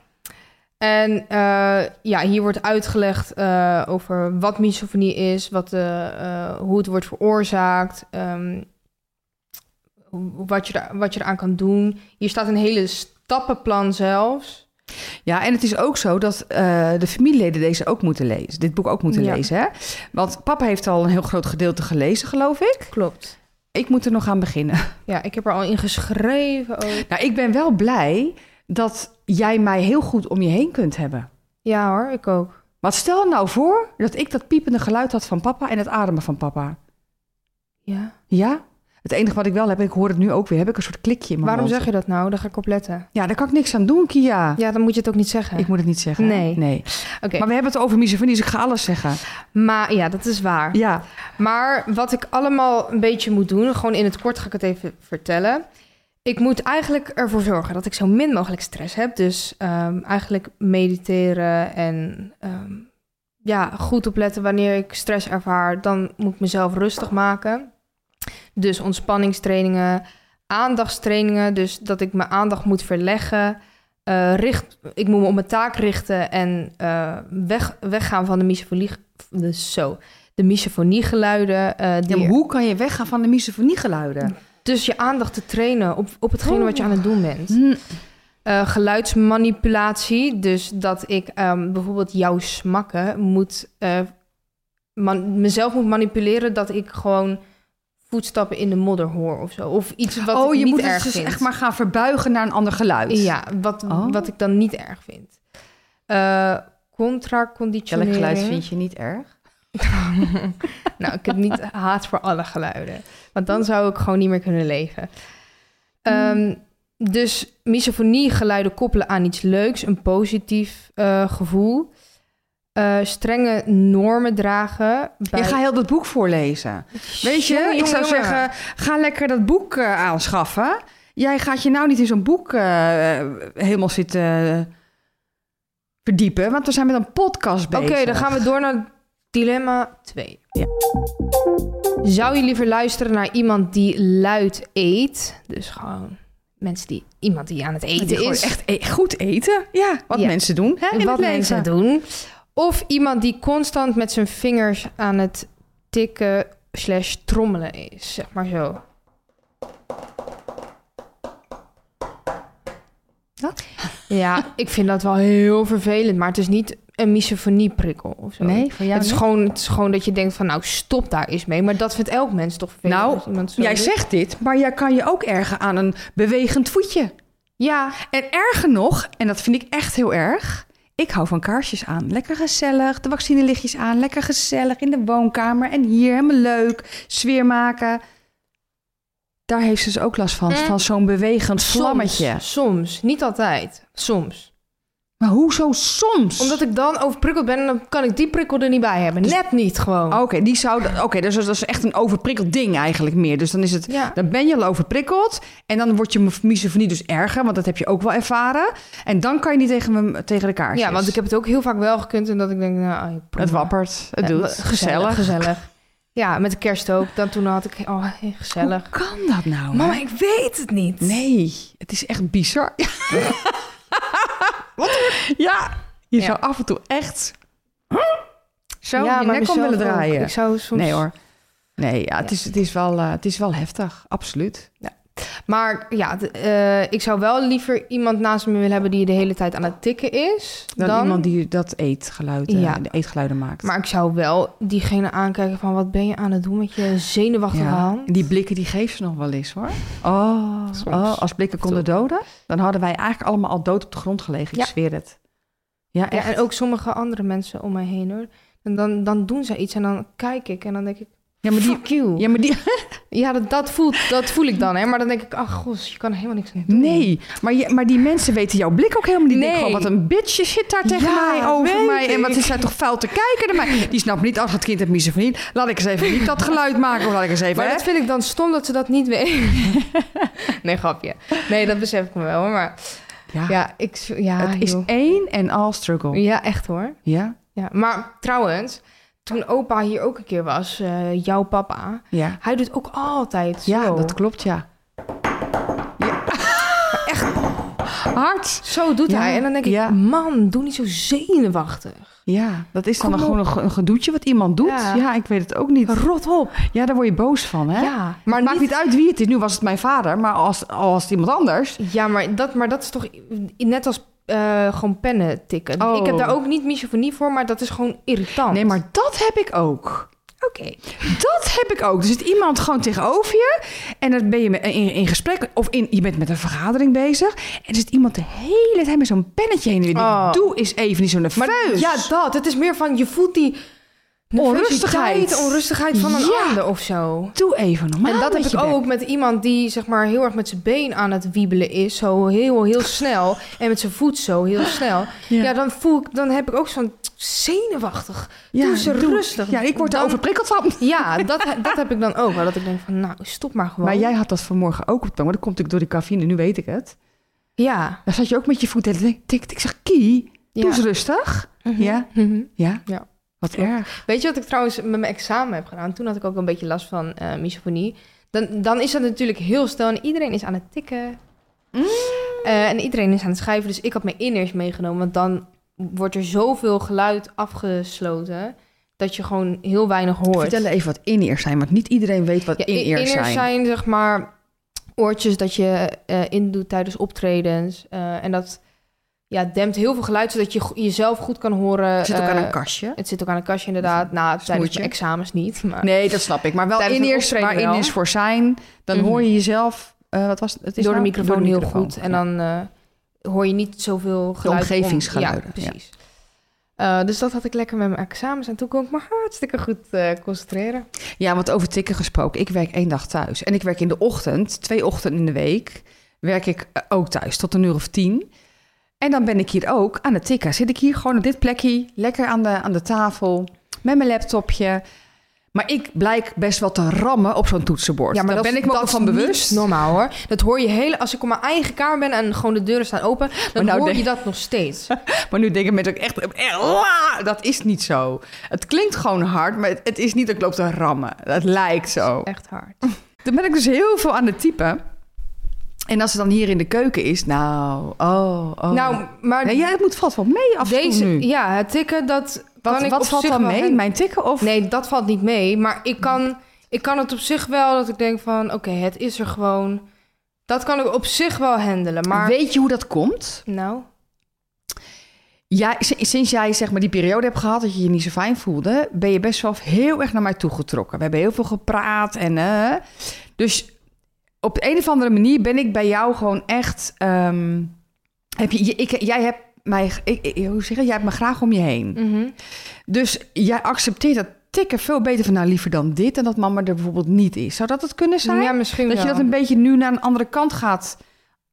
Speaker 1: En eh, ja, hier wordt uitgelegd eh, over wat misofonie is, wat, de, eh, hoe het wordt veroorzaakt, ehm, hoe- wat, je er, wat je eraan kan doen. Hier staat een hele stappenplan zelfs.
Speaker 2: Ja, en het is ook zo dat eh, de familieleden deze ook moeten lezen. Dit boek ook moeten
Speaker 1: Ja.
Speaker 2: lezen, hè? Want papa heeft al een heel groot gedeelte gelezen, geloof ik.
Speaker 1: Klopt.
Speaker 2: Ik moet er nog aan beginnen.
Speaker 1: Ja, ik heb er al in geschreven ook.
Speaker 2: Nou, ik ben wel blij dat jij mij heel goed om je heen kunt hebben.
Speaker 1: Ja hoor, ik ook.
Speaker 2: Want stel nou voor dat ik dat piepende geluid had van papa en het ademen van papa.
Speaker 1: Ja.
Speaker 2: Ja? Het enige wat ik wel heb, en ik hoor het nu ook weer, heb ik een soort klikje in mijn
Speaker 1: Waarom
Speaker 2: mond.
Speaker 1: zeg je dat nou? Daar ga ik op letten.
Speaker 2: Ja, daar kan ik niks aan doen, Kia.
Speaker 1: Ja, dan moet je het ook niet zeggen.
Speaker 2: Ik moet het niet zeggen. hè?
Speaker 1: Nee.
Speaker 2: nee.
Speaker 1: Oké.
Speaker 2: Maar we hebben het over misofonie, dus ik ga alles zeggen.
Speaker 1: Maar ja, dat is waar.
Speaker 2: Ja.
Speaker 1: Maar wat ik allemaal een beetje moet doen, gewoon in het kort ga ik het even vertellen. Ik moet eigenlijk ervoor zorgen dat ik zo min mogelijk stress heb. Dus ehm, eigenlijk mediteren en ehm, ja, goed opletten wanneer ik stress ervaar. Dan moet ik mezelf rustig maken. Dus ontspanningstrainingen, aandachtstrainingen. Dus dat ik mijn aandacht moet verleggen. Eh, richt, ik moet me op mijn taak richten en eh, weg, weggaan van de misofonie. Dus zo, de misofoniegeluiden. eh die
Speaker 2: Ja, maar
Speaker 1: er-
Speaker 2: hoe kan je weggaan van de misofoniegeluiden?
Speaker 1: Dus je aandacht te trainen op, op hetgene
Speaker 2: Oh.
Speaker 1: wat je aan het doen bent.
Speaker 2: geluiden?
Speaker 1: Eh, geluidsmanipulatie, dus dat ik ehm, bijvoorbeeld jou smakken moet, eh, man- mezelf moet manipuleren dat ik gewoon voetstappen in de modder hoor of zo. Of iets wat
Speaker 2: oh,
Speaker 1: ik
Speaker 2: je
Speaker 1: niet
Speaker 2: moet
Speaker 1: erg
Speaker 2: het dus
Speaker 1: vind.
Speaker 2: echt maar gaan verbuigen naar een ander geluid.
Speaker 1: Ja, wat,
Speaker 2: Oh.
Speaker 1: wat ik dan niet erg vind. Eh
Speaker 2: Welk
Speaker 1: Contraconditionering.
Speaker 2: geluid vind je niet erg?
Speaker 1: Nou, ik heb niet haat voor alle geluiden. Want dan zou ik gewoon niet meer kunnen leven. Ehm, dus misofonie geluiden koppelen aan iets leuks, een positief eh, gevoel. Eh, strenge normen dragen. Bij...
Speaker 2: Ik ga heel dat boek voorlezen. Weet je,
Speaker 1: Jongen,
Speaker 2: ik zou
Speaker 1: jongen,
Speaker 2: zeggen, ga lekker dat boek eh, aanschaffen. Jij gaat je nou niet in zo'n boek eh, helemaal zitten eh, verdiepen, want we zijn met een podcast
Speaker 1: Oké,
Speaker 2: bezig.
Speaker 1: dan gaan we door naar dilemma 2.
Speaker 2: Ja.
Speaker 1: Zou je liever luisteren naar iemand die luid eet? Dus gewoon mensen die iemand die aan het eten
Speaker 2: eten
Speaker 1: is.
Speaker 2: is. Echt e- goed eten. Ja, wat
Speaker 1: Ja.
Speaker 2: mensen doen hè, in
Speaker 1: wat
Speaker 2: het leven.
Speaker 1: mensen doen. Of iemand die constant met zijn vingers aan het tikken slash trommelen is, zeg maar zo.
Speaker 2: Wat?
Speaker 1: Ja, ik vind dat wel heel vervelend, maar het is niet een misofonieprikkel of zo.
Speaker 2: Nee, voor jou
Speaker 1: het, is
Speaker 2: niet?
Speaker 1: gewoon, het is gewoon dat je denkt van, nou stop daar eens mee. Maar dat vindt elk mens toch vervelend
Speaker 2: Nou,
Speaker 1: als iemand zo
Speaker 2: Jij
Speaker 1: doet.
Speaker 2: zegt dit, maar jij kan je ook ergen aan een bewegend voetje.
Speaker 1: Ja,
Speaker 2: En erger nog, en dat vind ik echt heel erg. Ik hou van kaarsjes aan. Lekker gezellig, de vaccinelichtjes aan. Lekker gezellig in de woonkamer. En hier, helemaal leuk. Sfeer maken. Daar heeft ze dus ook last van.
Speaker 1: Mm.
Speaker 2: Van zo'n bewegend vlammetje.
Speaker 1: Soms, soms, niet altijd. Soms.
Speaker 2: Maar hoezo soms?
Speaker 1: Omdat ik dan overprikkeld ben en dan kan ik die prikkel er niet bij hebben.
Speaker 2: Dus-
Speaker 1: Net niet gewoon.
Speaker 2: Oké, die zou... Oké, dus dat is echt een overprikkeld ding eigenlijk meer. Dus dan is het...
Speaker 1: Ja.
Speaker 2: Dan ben je al overprikkeld en dan wordt je misofonie dus erger, want dat heb je ook wel ervaren. En dan kan je niet tegen, me- tegen de kaarsjes.
Speaker 1: ja, want ik heb het ook heel vaak wel gekund en dat ik denk, nou, ah, prima.
Speaker 2: Het wappert, het
Speaker 1: Ja,
Speaker 2: doet,
Speaker 1: gezellig,
Speaker 2: Eh, gezellig.
Speaker 1: Gezellig. Ja, met de kerst ook. Dan toen had ik, oh, gezellig.
Speaker 2: Hoe kan dat nou? hè?
Speaker 1: Mama, ik weet het niet.
Speaker 2: Nee, het is echt bizar. Wat? Ja, je
Speaker 1: Ja.
Speaker 2: zou af en toe echt zo
Speaker 1: ja,
Speaker 2: je
Speaker 1: maar
Speaker 2: nek om
Speaker 1: mezelf
Speaker 2: willen
Speaker 1: ook.
Speaker 2: draaien.
Speaker 1: Ik zou soms...
Speaker 2: Nee hoor. Nee, ja, het, Is, het, is wel, eh, het is wel heftig, absoluut.
Speaker 1: Maar ja, d- eh, ik zou wel liever iemand naast me willen hebben die de hele tijd aan het tikken is.
Speaker 2: Dan,
Speaker 1: Dan,
Speaker 2: iemand die dat eetgeluid, eh,
Speaker 1: Ja.
Speaker 2: de eetgeluiden maakt.
Speaker 1: Maar ik zou wel diegene aankijken van, wat ben je aan het doen met je zenuwachtige
Speaker 2: ja.
Speaker 1: hand?
Speaker 2: en die blikken die geeft ze nog wel eens hoor. Oh,
Speaker 1: Soms.
Speaker 2: oh, als blikken konden doden, dan hadden wij eigenlijk allemaal al dood op de grond gelegen.
Speaker 1: Ja.
Speaker 2: Ik zweer het. Ja,
Speaker 1: Ja,
Speaker 2: echt.
Speaker 1: en ook sommige andere mensen om mij heen hoor. En dan, dan doen ze iets en dan kijk ik en dan denk ik,
Speaker 2: ja, maar die,
Speaker 1: fuck you.
Speaker 2: ja, maar die,
Speaker 1: Ja, dat, dat, voelt, dat voel ik dan, hè. Maar dan denk ik, ach, gos, je kan er helemaal niks aan doen.
Speaker 2: Nee, maar, je, maar die mensen weten jouw blik ook helemaal niet. Nee.
Speaker 1: Nee.
Speaker 2: Gewoon, wat een bitch, je zit daar tegen
Speaker 1: Ja,
Speaker 2: mij over
Speaker 1: weet
Speaker 2: mij. En wat
Speaker 1: ik.
Speaker 2: is zij toch vuil te kijken naar mij? Die snapt niet, als het kind heeft misofonie. Laat ik eens even niet dat geluid maken. Of laat ik eens even...
Speaker 1: Maar
Speaker 2: hè?
Speaker 1: dat vind ik dan stom dat ze dat niet weten. nee, grapje. Nee, dat besef ik me wel, hoor, maar...
Speaker 2: Ja,
Speaker 1: Ja, ik, z- ja,
Speaker 2: het is
Speaker 1: joh.
Speaker 2: één en al struggle.
Speaker 1: ja, echt hoor.
Speaker 2: Ja,
Speaker 1: Ja. Maar trouwens, toen opa hier ook een keer was, eh, jouw papa,
Speaker 2: ja.
Speaker 1: hij doet ook altijd
Speaker 2: Ja,
Speaker 1: zo.
Speaker 2: dat klopt, ja. ja. Echt hard.
Speaker 1: Zo doet
Speaker 2: Ja,
Speaker 1: hij. En dan denk ik,
Speaker 2: ja.
Speaker 1: man, doe niet zo zenuwachtig.
Speaker 2: Ja, dat is dan
Speaker 1: Kom op.
Speaker 2: gewoon een ge- een gedoetje wat iemand doet.
Speaker 1: Ja.
Speaker 2: Ja. ik weet het ook niet.
Speaker 1: Rot op.
Speaker 2: Ja, daar word je boos van, hè?
Speaker 1: Ja,
Speaker 2: Maar
Speaker 1: maar
Speaker 2: het maakt
Speaker 1: niet...
Speaker 2: niet uit wie het is. Nu was het mijn vader, maar als, als het iemand anders...
Speaker 1: Ja, maar dat, maar dat is toch i- net als eh, gewoon pennen tikken.
Speaker 2: Oh.
Speaker 1: Ik heb daar ook niet misofonie voor, maar dat is gewoon irritant.
Speaker 2: Nee, maar dat heb ik ook.
Speaker 1: Oké.
Speaker 2: Dat heb ik ook. Er zit iemand gewoon tegenover je en dan ben je met- in, in gesprek of in, je bent met een vergadering bezig en er zit iemand de hele tijd met zo'n pennetje heen en weer.
Speaker 1: Oh.
Speaker 2: Doe eens even niet zo
Speaker 1: Maar
Speaker 2: nerveus.
Speaker 1: ja, dat. Het is meer van, je voelt die...
Speaker 2: Onrustigheid.
Speaker 1: nervositeit, Onrustigheid van een
Speaker 2: Ja.
Speaker 1: ander of zo.
Speaker 2: doe even normaal.
Speaker 1: en dat
Speaker 2: met
Speaker 1: heb
Speaker 2: je
Speaker 1: ik
Speaker 2: bek.
Speaker 1: ook met iemand die zeg maar heel erg met zijn been aan het wiebelen is. Zo heel, heel snel. En met zijn voet zo heel snel. Ja,
Speaker 2: Ja.
Speaker 1: dan voel ik, dan heb ik ook zo'n zenuwachtig.
Speaker 2: Ja,
Speaker 1: doe ze
Speaker 2: doe-
Speaker 1: rustig.
Speaker 2: Ja, ik word er
Speaker 1: Dan-
Speaker 2: overprikkeld van.
Speaker 1: Ja, dat, dat heb ik dan ook wel. Dat ik denk van, nou, stop maar gewoon.
Speaker 2: Maar jij had dat vanmorgen ook op de tong. Maar dat komt natuurlijk door die cafeïne, nu weet ik het.
Speaker 1: Ja.
Speaker 2: Dan zat je ook met je voet en tik, tik. Ik zeg, Kie, doe
Speaker 1: Ja.
Speaker 2: eens rustig.
Speaker 1: Mhm.
Speaker 2: Ja.
Speaker 1: Mhm.
Speaker 2: Ja?
Speaker 1: Ja.
Speaker 2: Wat erg.
Speaker 1: Weet je wat ik trouwens met mijn examen heb gedaan? Toen had ik ook een beetje last van eh, misofonie. Dan, dan is dat natuurlijk heel snel en iedereen is aan het tikken.
Speaker 2: Mm.
Speaker 1: Eh, en iedereen is aan het schuiven. Dus ik had mijn inners meegenomen. Want dan wordt er zoveel geluid afgesloten dat je gewoon heel weinig hoort.
Speaker 2: Vertel even wat in-ears zijn, want niet iedereen weet wat
Speaker 1: Ja, in-
Speaker 2: in-ears zijn.
Speaker 1: zeg maar oortjes dat je eh indoet tijdens optredens. Eh, en dat ja, dempt heel veel geluid, zodat je go- jezelf goed kan horen.
Speaker 2: Het zit ook aan
Speaker 1: Eh,
Speaker 2: een kastje.
Speaker 1: Het zit ook aan een kastje inderdaad. Nou, tijdens
Speaker 2: Snoertje.
Speaker 1: mijn examens niet. Maar
Speaker 2: Nee, dat snap ik. Maar wel
Speaker 1: Tijdens een
Speaker 2: in-ears
Speaker 1: optreden
Speaker 2: waar
Speaker 1: wel.
Speaker 2: in-ears voor zijn. Dan
Speaker 1: Mhm.
Speaker 2: hoor je jezelf... eh, wat was het? Het is
Speaker 1: door de
Speaker 2: nou-
Speaker 1: microfoon heel
Speaker 2: microfoon.
Speaker 1: goed. En
Speaker 2: Ja.
Speaker 1: dan eh, hoor je niet zoveel geluid. om-
Speaker 2: omgevingsgeluiden,
Speaker 1: ja,
Speaker 2: ja.
Speaker 1: precies. Eh, dus dat had ik lekker met mijn examens. En toen kon ik me hartstikke goed eh, concentreren.
Speaker 2: Ja, want over tikken gesproken. Ik werk één dag thuis. En ik werk in de ochtend, twee ochtenden in de week... werk ik eh, ook thuis, tot een uur of tien. En dan ben ik hier ook aan het tikken. Zit ik hier gewoon op dit plekje, lekker aan de, aan de tafel... met mijn laptopje... Maar ik blijk best wel te rammen op zo'n toetsenbord. Daar
Speaker 1: dat
Speaker 2: ben
Speaker 1: is-
Speaker 2: ik me ook
Speaker 1: dat
Speaker 2: van
Speaker 1: is niet
Speaker 2: bewust.
Speaker 1: normaal hoor. Dat hoor je heel... Als ik op mijn eigen kamer ben en gewoon de deuren staan open... dan
Speaker 2: Maar nou
Speaker 1: hoor
Speaker 2: denk-
Speaker 1: je dat nog steeds.
Speaker 2: Maar nu denken mensen ook echt, echt, "Wa!" dat is niet zo. Het klinkt gewoon hard, maar het, het is niet dat ik loop te rammen. Dat lijkt zo.
Speaker 1: Echt hard.
Speaker 2: Dan ben ik dus heel veel aan het typen. En als ze dan hier in de keuken is, nou, oh, oh.
Speaker 1: Nou, maar
Speaker 2: nee, ja, het moet valt wel mee af en toe
Speaker 1: deze...
Speaker 2: nu.
Speaker 1: Ja, het tikken, dat
Speaker 2: wat
Speaker 1: kan ik
Speaker 2: wat
Speaker 1: op
Speaker 2: valt
Speaker 1: zich
Speaker 2: dan
Speaker 1: wel
Speaker 2: mee?
Speaker 1: hen-
Speaker 2: Mijn tikken of?
Speaker 1: Nee, dat valt niet mee. Maar ik kan, ik kan het op zich wel dat ik denk van... Oké, het is er gewoon. Dat kan ik op zich wel handelen. Maar
Speaker 2: Weet je hoe dat komt?
Speaker 1: nou...
Speaker 2: Ja, si- sinds jij zeg maar die periode hebt gehad dat je je niet zo fijn voelde, ben je best wel heel erg naar mij toegetrokken. We hebben heel veel gepraat en eh, dus op de een of andere manier ben ik bij jou gewoon echt. ehm, heb je, je- ik, jij hebt mij, ik, ik- hoe zeg je, jij hebt me graag om je heen.
Speaker 1: mhm.
Speaker 2: Dus jij accepteert dat tikken veel beter van nou liever dan dit en dat mama er bijvoorbeeld niet is. Zou dat het kunnen zijn?
Speaker 1: Ja, misschien
Speaker 2: Dat je
Speaker 1: wel.
Speaker 2: dat een beetje nu naar een andere kant gaat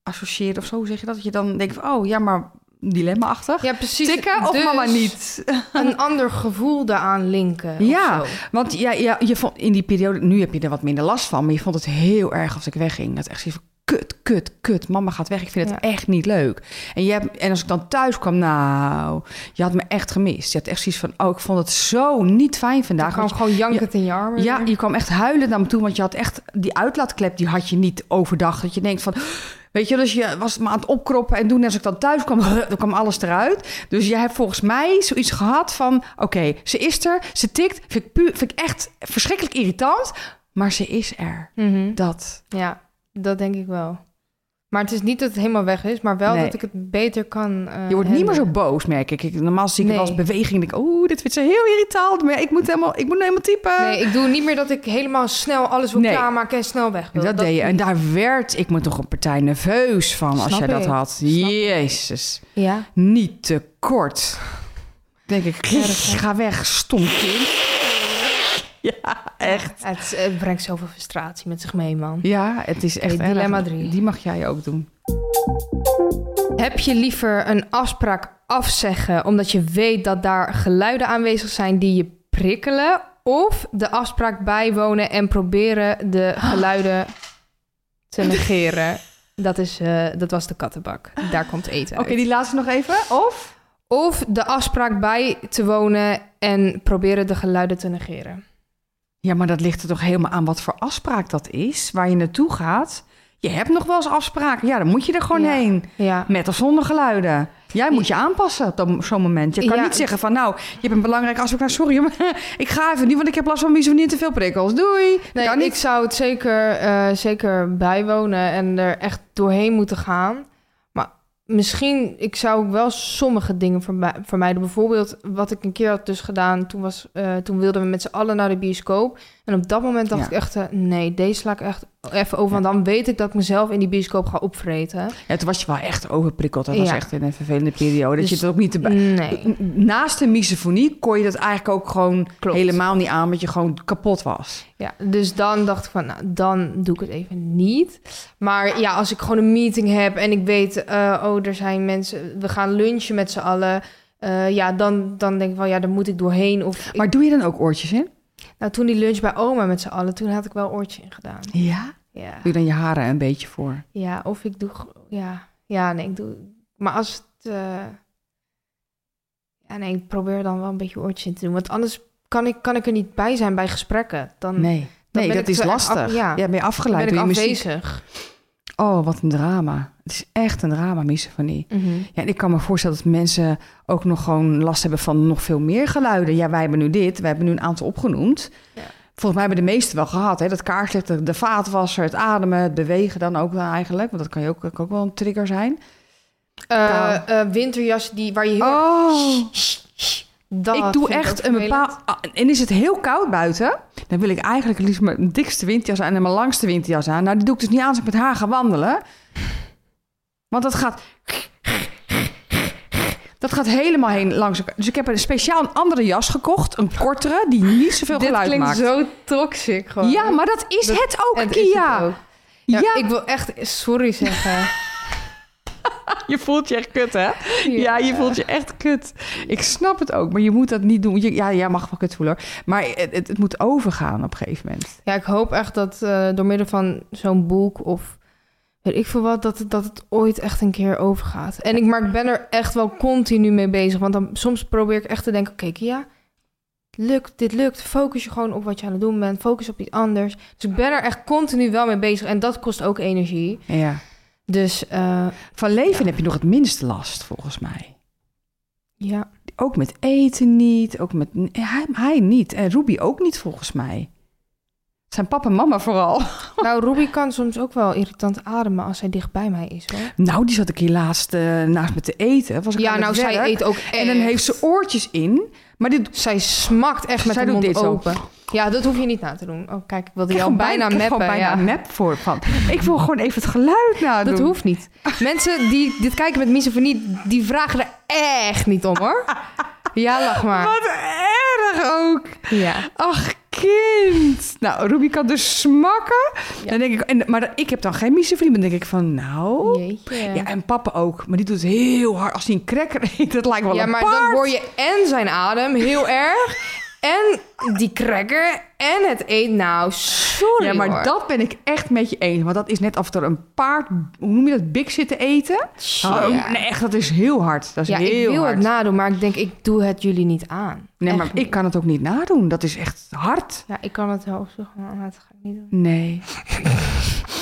Speaker 2: associëren of zo, hoe zeg je dat? Dat je dan denkt van, oh ja, maar dilemma-achtig.
Speaker 1: Ja, precies.
Speaker 2: Tikken of
Speaker 1: Dus
Speaker 2: mama niet?
Speaker 1: een ander gevoel daaraan linken. of
Speaker 2: Ja,
Speaker 1: zo.
Speaker 2: want ja, ja, je vond in die periode, nu heb je er wat minder last van, maar je vond het heel erg als ik wegging. Dat echt zoiets van kut, kut, kut. Mama gaat weg. Ik vind het
Speaker 1: Ja.
Speaker 2: echt niet leuk. En, je hebt, en als ik dan thuis kwam, nou, je had me echt gemist. Je had echt zoiets van, oh, ik vond het zo niet fijn
Speaker 1: Dan
Speaker 2: vandaag.
Speaker 1: kan
Speaker 2: Want-
Speaker 1: gewoon jankend in je armen.
Speaker 2: ja,
Speaker 1: weer.
Speaker 2: je kwam echt huilen naar me toe, want je had echt die uitlaatklep, die had je niet overdag. Dat je denkt van, weet je, dus je was me aan het opkroppen en toen als ik dan thuis kwam, dan kwam alles eruit. Dus jij hebt volgens mij zoiets gehad van, oké, ze is er, ze tikt, vind ik, puur, vind ik echt verschrikkelijk irritant, maar ze is er.
Speaker 1: Mhm.
Speaker 2: Dat.
Speaker 1: ja, dat denk ik wel. Maar het is niet dat het helemaal weg is, maar wel
Speaker 2: Nee.
Speaker 1: dat ik het beter kan. eh,
Speaker 2: Je wordt niet meer zo
Speaker 1: handelen.
Speaker 2: boos, merk ik. ik normaal zie ik het
Speaker 1: Nee.
Speaker 2: als beweging. Denk, ik, oeh, dit vindt ze heel irritant. Maar ja, ik moet helemaal, ik moet nu helemaal typen.
Speaker 1: Nee, ik doe niet meer dat ik helemaal snel alles wil
Speaker 2: Nee.
Speaker 1: klaarmaken en snel weg wil.
Speaker 2: Dat, deed je. En daar werd ik me toch een partij nerveus van als
Speaker 1: Snap
Speaker 2: jij dat
Speaker 1: ik.
Speaker 2: had.
Speaker 1: Snap ik.
Speaker 2: Jezus.
Speaker 1: Ja.
Speaker 2: Niet te kort. Denk ik,
Speaker 1: Erg, hè?
Speaker 2: ga weg, stom kind. Ja, echt.
Speaker 1: Het, eh, brengt zoveel frustratie met zich mee, man.
Speaker 2: Ja, het is echt
Speaker 1: Oké, dilemma
Speaker 2: erg.
Speaker 1: drie.
Speaker 2: Die mag jij ook doen.
Speaker 1: Heb je liever een afspraak afzeggen omdat je weet dat daar geluiden aanwezig zijn die je prikkelen? Of de afspraak bijwonen en proberen de geluiden te negeren? Dat, is, eh, dat was de kattenbak. Daar komt eten
Speaker 2: Oké,
Speaker 1: uit.
Speaker 2: die laatste nog even. Of?
Speaker 1: Of de afspraak bij te wonen en proberen de geluiden te negeren.
Speaker 2: Ja, maar dat ligt er toch helemaal aan wat voor afspraak dat is, waar je naartoe gaat. Je hebt nog wel eens afspraken. Ja, dan moet je er gewoon
Speaker 1: Ja.
Speaker 2: heen.
Speaker 1: Ja,
Speaker 2: Met of zonder geluiden. Jij moet je aanpassen op dat- zo'n moment. Je kan
Speaker 1: Ja.
Speaker 2: niet zeggen van nou, je hebt een belangrijke afspraak. Nou, sorry, maar ik ga even niet, want ik heb last van misofonie en te veel prikkels. Doei. Dat
Speaker 1: nee,
Speaker 2: kan niet.
Speaker 1: ik zou het zeker, eh, zeker bijwonen en er echt doorheen moeten gaan. Maar misschien, ik zou ook wel sommige dingen vermi- vermijden. Bijvoorbeeld, wat ik een keer had dus gedaan, toen, was, eh, toen wilden we met z'n allen naar de bioscoop. En op dat moment dacht
Speaker 2: Ja.
Speaker 1: ik echt, eh, nee, deze sla ik echt even over. Want dan weet ik dat ik mezelf in die bioscoop ga opvreten.
Speaker 2: Ja, toen was je wel echt overprikkeld. Dat was
Speaker 1: Ja.
Speaker 2: echt in een vervelende periode.
Speaker 1: Dus-
Speaker 2: dat je het ook niet erbij...
Speaker 1: Nee.
Speaker 2: Naast de misofonie kon je dat eigenlijk ook gewoon
Speaker 1: Klopt.
Speaker 2: helemaal niet aan, want je gewoon kapot was.
Speaker 1: Ja, dus dan dacht ik van, nou, dan doe ik het even niet. Maar ja, als ik gewoon een meeting heb en ik weet, eh, oh, er zijn mensen, we gaan lunchen met z'n allen. eh, ja, dan, dan denk ik wel, ja, daar moet ik doorheen. Of ik-
Speaker 2: Maar doe je dan ook oortjes in?
Speaker 1: nou, toen die lunch bij oma met z'n allen, toen had ik wel oortje in gedaan.
Speaker 2: Ja.
Speaker 1: Ja,
Speaker 2: Doe dan je haren een beetje voor.
Speaker 1: ja of ik doe, gro- ja, ja, nee, ik doe, maar als het, eh, ja, nee, ik probeer dan wel een beetje oortje in te doen. Want anders kan ik, kan ik er niet bij zijn bij gesprekken. Ehm, Dan
Speaker 2: Nee,
Speaker 1: ben
Speaker 2: nee
Speaker 1: ik
Speaker 2: dat is
Speaker 1: te-
Speaker 2: lastig.
Speaker 1: af- ja.
Speaker 2: Jij bent
Speaker 1: dan
Speaker 2: afgeleid
Speaker 1: ben ik
Speaker 2: door je muziek.
Speaker 1: afwezig.
Speaker 2: Oh, wat een drama. Het is echt een drama, misofonie.
Speaker 1: Mhm.
Speaker 2: Ja, en ik kan me voorstellen dat mensen ook nog gewoon last hebben van nog veel meer geluiden. Ja, wij hebben nu dit, wij hebben nu een aantal opgenoemd.
Speaker 1: Ja.
Speaker 2: Volgens mij hebben de meesten wel gehad. Hè? Dat kaarslicht, de, de vaatwasser, het ademen, het bewegen dan ook wel eigenlijk. Want dat kan, je ook, kan ook wel een trigger zijn.
Speaker 1: Eh, eh, winterjas die, waar je heel
Speaker 2: Oh,
Speaker 1: Dat
Speaker 2: ik doe
Speaker 1: vind
Speaker 2: echt
Speaker 1: ook
Speaker 2: een
Speaker 1: vervelend.
Speaker 2: bepaald... ah, en is het heel koud buiten, dan wil ik eigenlijk het liefst mijn dikste winterjas aan en mijn langste winterjas aan. Nou, die doe ik dus niet aan als ik met haar ga wandelen. Want dat gaat... Dat gaat helemaal heen langs elkaar. Dus ik heb een speciaal een andere jas gekocht. Een kortere, die niet zoveel
Speaker 1: Dit
Speaker 2: geluid
Speaker 1: klinkt
Speaker 2: maakt.
Speaker 1: zo toxic gewoon.
Speaker 2: Ja, maar dat is
Speaker 1: Dat-
Speaker 2: het ook,
Speaker 1: En het is
Speaker 2: Kia.
Speaker 1: het ook. Ja,
Speaker 2: Ja.
Speaker 1: Ik wil echt sorry zeggen.
Speaker 2: Je voelt je echt kut, hè? Ja, je voelt je echt kut. Ik snap het ook, maar je moet dat niet doen. Je- ja, jij mag wel kut voelen, hoor. Maar het, het, het moet overgaan op een gegeven moment.
Speaker 1: Ja, ik hoop echt dat eh, door middel van zo'n boek of weet ik veel wat, dat, het- dat het ooit echt een keer overgaat. En ik, maar ik ben er echt wel continu mee bezig. Want dan, soms probeer ik echt te denken, oké Kia, lukt, dit lukt. Focus je gewoon op wat je aan het doen bent. Focus op iets anders. Dus ik ben er echt continu wel mee bezig. En dat kost ook energie.
Speaker 2: Ja.
Speaker 1: Dus eh,
Speaker 2: Van leven heb je nog het minste last, volgens mij.
Speaker 1: ja.
Speaker 2: Ook met eten niet, ook met... eh, Hij, hij niet en Ruby ook niet, volgens mij. Zijn papa en mama vooral.
Speaker 1: Nou, Ruby kan soms ook wel irritant ademen als zij dicht bij mij is, hoor.
Speaker 2: Nou, die zat ik hier laatst eh, naast me te eten. Was ik
Speaker 1: Ja,
Speaker 2: aan het
Speaker 1: nou, zij
Speaker 2: werk.
Speaker 1: eet ook
Speaker 2: En dan heeft ze oortjes in. Maar dit
Speaker 1: Zij smakt echt met
Speaker 2: Zij
Speaker 1: haar
Speaker 2: doet
Speaker 1: mond
Speaker 2: dit zo.
Speaker 1: open. Ja, dat hoef je niet na te doen. Oh, kijk, ik wilde
Speaker 2: krijg
Speaker 1: jou
Speaker 2: gewoon
Speaker 1: bijna
Speaker 2: ik krijg
Speaker 1: meppen.
Speaker 2: gewoon bijna
Speaker 1: ja.
Speaker 2: een map voor van. Ik wil gewoon even het geluid nadoen.
Speaker 1: Dat hoeft niet. Mensen die dit kijken met misofonie, die vragen er echt niet om, hoor. Ja, lach maar.
Speaker 2: Wat erg ook.
Speaker 1: Ja.
Speaker 2: Ach, kind. Nou, Ruby kan dus smakken.
Speaker 1: Ja.
Speaker 2: Dan denk ik, en, maar ik heb dan geen misofonie. Dan denk ik van, nou...
Speaker 1: Jeetje.
Speaker 2: Ja,
Speaker 1: Ja,
Speaker 2: en papa ook. Maar die doet het heel hard. Als hij een cracker eet, dat lijkt wel een
Speaker 1: maar
Speaker 2: paard.
Speaker 1: dan hoor je en zijn adem heel erg... en die cracker en het eten. Nou, sorry,
Speaker 2: Ja, maar
Speaker 1: hoor.
Speaker 2: dat ben ik echt met je eens. Want dat is net of er een paard, hoe noem je dat, bik zit te eten.
Speaker 1: Ja.
Speaker 2: Oh, nee, echt, dat is heel hard. Dat is
Speaker 1: Ja,
Speaker 2: heel
Speaker 1: ik wil
Speaker 2: hard.
Speaker 1: het nadoen, maar ik denk, ik doe het jullie niet aan.
Speaker 2: nee, maar
Speaker 1: Echt
Speaker 2: ik
Speaker 1: niet.
Speaker 2: kan het ook niet nadoen. Dat is echt hard.
Speaker 1: Ja, ik kan het wel opzoeken, maar dat ga ik niet doen.
Speaker 2: Nee.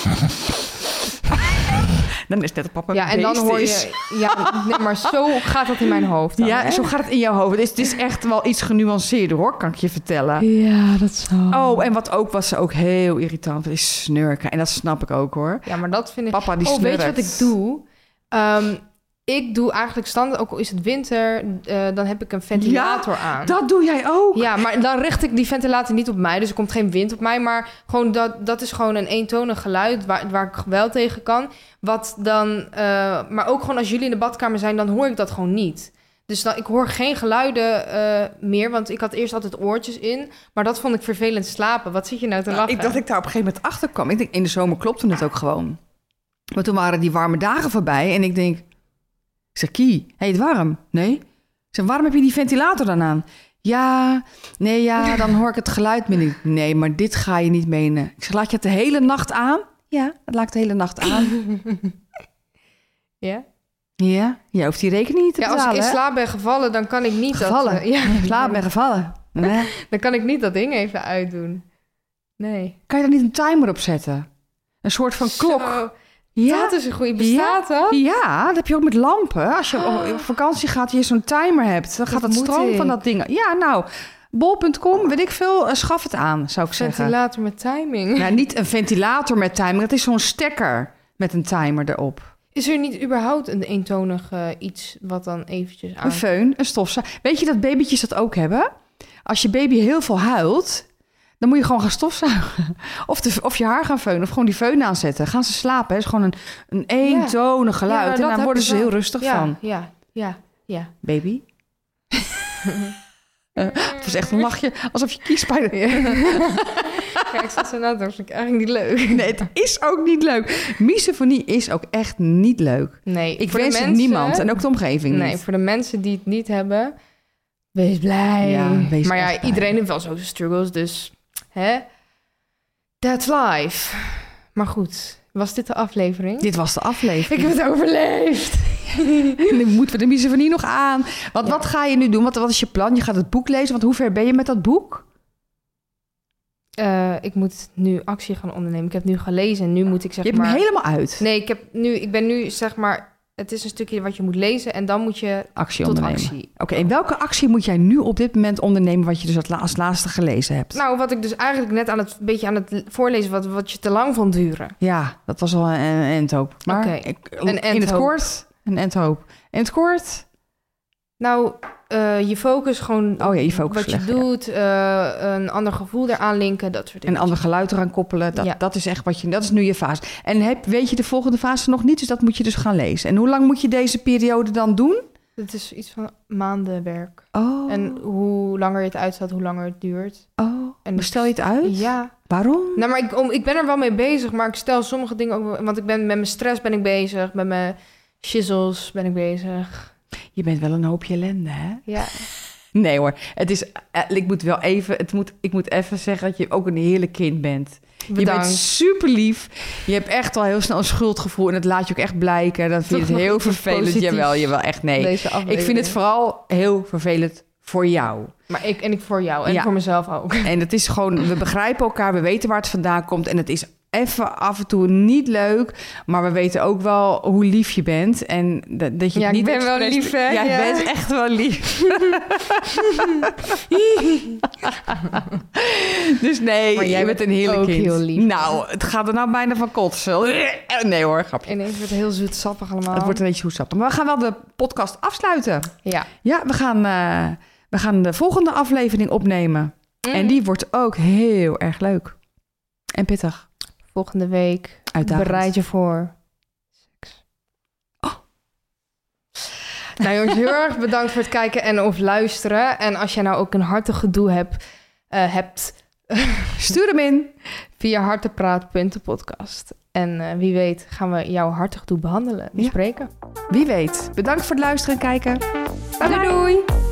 Speaker 2: dan is net papa een
Speaker 1: Ja, en dan
Speaker 2: beest
Speaker 1: hoor
Speaker 2: is.
Speaker 1: je... Ja, nee, maar zo gaat dat in mijn hoofd dan,
Speaker 2: Ja,
Speaker 1: hè?
Speaker 2: zo gaat het in jouw hoofd. Het is, het is echt wel iets genuanceerder hoor, kan ik je vertellen.
Speaker 1: Ja, dat zo.
Speaker 2: Oh, en wat ook was ze ook heel irritant, dat is snurken. En dat snap ik ook hoor.
Speaker 1: Ja, maar dat vind ik...
Speaker 2: Papa die
Speaker 1: oh, weet je
Speaker 2: snurkt.
Speaker 1: wat ik doe? Ehm, ik doe eigenlijk standaard, ook al is het winter, eh, dan heb ik een ventilator aan.
Speaker 2: Dat doe jij ook.
Speaker 1: Ja, maar dan richt ik die ventilator niet op mij, dus er komt geen wind op mij. Maar gewoon dat, dat is gewoon een eentonig geluid waar, waar ik wel tegen kan. Wat dan, eh, maar ook gewoon als jullie in de badkamer zijn, dan hoor ik dat gewoon niet. Dus dan, ik hoor geen geluiden eh, meer, want ik had eerst altijd oortjes in. Maar dat vond ik vervelend slapen. Wat zit je nou te
Speaker 2: Nou,
Speaker 1: lachen?
Speaker 2: ik dacht ik daar op een gegeven moment achter kwam. Ik denk, in de zomer klopte het ook gewoon. Maar toen waren die warme dagen voorbij en ik denk, ik zeg, Kie, hey, het warm? Nee. Ik zeg, waarom heb je die ventilator dan aan? Ja, nee, ja, dan hoor ik het geluid meer niet. Nee, maar dit ga je niet menen. Ik zeg, laat je het de hele nacht aan? Ja, dat laat ik de hele nacht aan.
Speaker 1: Ja?
Speaker 2: ja, je hoeft die rekening niet te
Speaker 1: ja, als ik
Speaker 2: betalen.
Speaker 1: in
Speaker 2: hè?
Speaker 1: slaap ben gevallen, dan kan ik niet dat...
Speaker 2: Gevallen?
Speaker 1: eh, ja,
Speaker 2: In slaap ben gevallen. Nee.
Speaker 1: dan kan ik niet dat ding even uitdoen. Nee.
Speaker 2: Kan je daar niet een timer op zetten? Een soort van klok.
Speaker 1: Zo,
Speaker 2: ja.
Speaker 1: Dat is een goede... Bestaat dat?
Speaker 2: ja, dat heb je ook met lampen. Als je op- op vakantie gaat en je zo'n timer hebt, dan gaat
Speaker 1: Dat
Speaker 2: het
Speaker 1: moet
Speaker 2: stroom van
Speaker 1: ik.
Speaker 2: dat ding. Ja, nou, bol.com, weet ik veel, eh, schaf het aan, zou ik zeggen.
Speaker 1: Ventilator met timing.
Speaker 2: Nou, niet een ventilator met timer, dat is zo'n stekker met een timer erop.
Speaker 1: Is er niet überhaupt een eentonig eh, iets wat dan eventjes aan...
Speaker 2: Een föhn, een stofzuiger. Weet je dat babytjes dat ook hebben? Als je baby heel veel huilt, dan moet je gewoon gaan stofzuigen. Of, de, of je haar gaan föhnen, of gewoon die föhn aanzetten. Gaan ze slapen, hè? is gewoon een, een eentonig
Speaker 1: Ja, maar
Speaker 2: geluid.
Speaker 1: dat
Speaker 2: en
Speaker 1: heb
Speaker 2: daar worden
Speaker 1: ik
Speaker 2: ze
Speaker 1: wel.
Speaker 2: heel rustig
Speaker 1: ja,
Speaker 2: van.
Speaker 1: Ja, ja, ja.
Speaker 2: Baby. Eh, Het was echt een lachje, alsof je kiespijn...
Speaker 1: Kijk, ik zat zo na te denken, vind ik eigenlijk niet leuk.
Speaker 2: Nee, het is ook niet leuk. Misofonie is ook echt niet leuk.
Speaker 1: Nee,
Speaker 2: Ik
Speaker 1: voor de
Speaker 2: wens het
Speaker 1: mensen-
Speaker 2: niemand en ook de omgeving
Speaker 1: Nee,
Speaker 2: niet.
Speaker 1: voor de mensen die het niet hebben, wees blij.
Speaker 2: Ja, wees
Speaker 1: maar ja,
Speaker 2: echt blij.
Speaker 1: iedereen heeft wel zo'n struggles, dus hè? That's life. Maar goed, was dit de aflevering?
Speaker 2: Dit was de
Speaker 1: Ik
Speaker 2: aflevering.
Speaker 1: heb het overleefd.
Speaker 2: Nu moeten we de misofonie nog aan. Want
Speaker 1: Ja.
Speaker 2: wat ga je nu doen? Wat, wat is je plan? Je gaat het boek lezen. Want hoe ver ben je met dat boek?
Speaker 1: Eh, ik moet nu actie gaan ondernemen. Ik heb nu gelezen en nu moet ik zeg
Speaker 2: je hebt
Speaker 1: maar...
Speaker 2: hem helemaal uit.
Speaker 1: Nee, ik, heb nu, ik ben nu zeg maar... Het is een stukje wat je moet lezen en dan moet je
Speaker 2: Actie
Speaker 1: tot
Speaker 2: ondernemen.
Speaker 1: actie.
Speaker 2: Oké, en welke actie moet jij nu op dit moment ondernemen... wat je dus als la- als laatste gelezen hebt?
Speaker 1: Nou, wat ik dus eigenlijk net aan het beetje aan het voorlezen, wat, wat je te lang vond duren.
Speaker 2: Ja, dat was al een, een endhoop. Maar
Speaker 1: Oké,
Speaker 2: ik-
Speaker 1: een
Speaker 2: in het
Speaker 1: endhoop.
Speaker 2: kort... Een endhoop. In het kort...
Speaker 1: Nou, eh, je focus gewoon
Speaker 2: Oh ja, je focus
Speaker 1: wat je
Speaker 2: leggen.
Speaker 1: doet, eh, een ander gevoel eraan linken, dat soort
Speaker 2: Een
Speaker 1: dingen.
Speaker 2: ander geluid eraan koppelen. Dat,
Speaker 1: Ja.
Speaker 2: dat is echt wat je... Dat is nu je fase. En heb, weet je de volgende fase nog niet, dus dat moet je dus gaan lezen. En hoe lang moet je deze periode dan doen?
Speaker 1: Het is iets van maandenwerk.
Speaker 2: Oh,
Speaker 1: En hoe langer je het uitstelt, hoe langer het duurt.
Speaker 2: oh.
Speaker 1: en-
Speaker 2: bestel je het uit?
Speaker 1: Ja.
Speaker 2: Waarom?
Speaker 1: Nou, maar ik, om, ik ben er wel mee bezig, maar ik stel sommige dingen ook... wel- Want ik ben met mijn stress ben ik bezig, met mijn shizzles ben ik bezig.
Speaker 2: Je bent wel een hoopje ellende, hè?
Speaker 1: Ja.
Speaker 2: Nee hoor, het is, eh, ik moet wel even, het moet, ik moet even zeggen dat je ook een heerlijk kind bent. Je
Speaker 1: Bedankt.
Speaker 2: bent super lief. Je hebt echt al heel snel een schuldgevoel en dat laat je ook echt blijken. Dan vind
Speaker 1: Toch
Speaker 2: je het
Speaker 1: nog
Speaker 2: heel
Speaker 1: iets
Speaker 2: vervelend.
Speaker 1: positiefs.
Speaker 2: Jawel, jawel, echt nee.
Speaker 1: Deze
Speaker 2: ik vind
Speaker 1: aflevering.
Speaker 2: het vooral heel vervelend voor jou.
Speaker 1: Maar ik en ik voor jou en
Speaker 2: Ja.
Speaker 1: voor mezelf ook.
Speaker 2: En het is gewoon, we begrijpen elkaar, we weten waar het vandaan komt. En het is even af en toe niet leuk, maar we weten ook wel hoe lief je bent. En dat, dat je
Speaker 1: Ja,
Speaker 2: het
Speaker 1: ik
Speaker 2: niet
Speaker 1: ben wel
Speaker 2: expres-
Speaker 1: lief, hè?
Speaker 2: Jij
Speaker 1: Ja.
Speaker 2: bent echt wel lief. dus nee,
Speaker 1: Maar jij
Speaker 2: je
Speaker 1: bent
Speaker 2: bent een heerlijk
Speaker 1: ook
Speaker 2: kind.
Speaker 1: heel lief.
Speaker 2: Nou, het gaat er nou bijna van kotsen. Nee hoor, grapje.
Speaker 1: Ineens wordt het heel zoet sappig allemaal.
Speaker 2: Het wordt een beetje hoesap. Maar we gaan wel de podcast afsluiten.
Speaker 1: Ja.
Speaker 2: Ja, we gaan, eh, we gaan de volgende aflevering opnemen.
Speaker 1: Mhm.
Speaker 2: En die wordt ook heel erg leuk. En pittig.
Speaker 1: Volgende week
Speaker 2: Uitdagend. Oh.
Speaker 1: bereid je voor seks. Nou jongens, heel erg bedankt voor het kijken en of luisteren. En als jij nou ook een hartig gedoe hebt, eh, hebt
Speaker 2: Stuur hem in.
Speaker 1: via hartepraat.podcast. En eh, wie weet gaan we jouw hartig gedoe behandelen, bespreken.
Speaker 2: Wie weet. Bedankt voor het luisteren en kijken. Bye bye.
Speaker 1: doei! doei.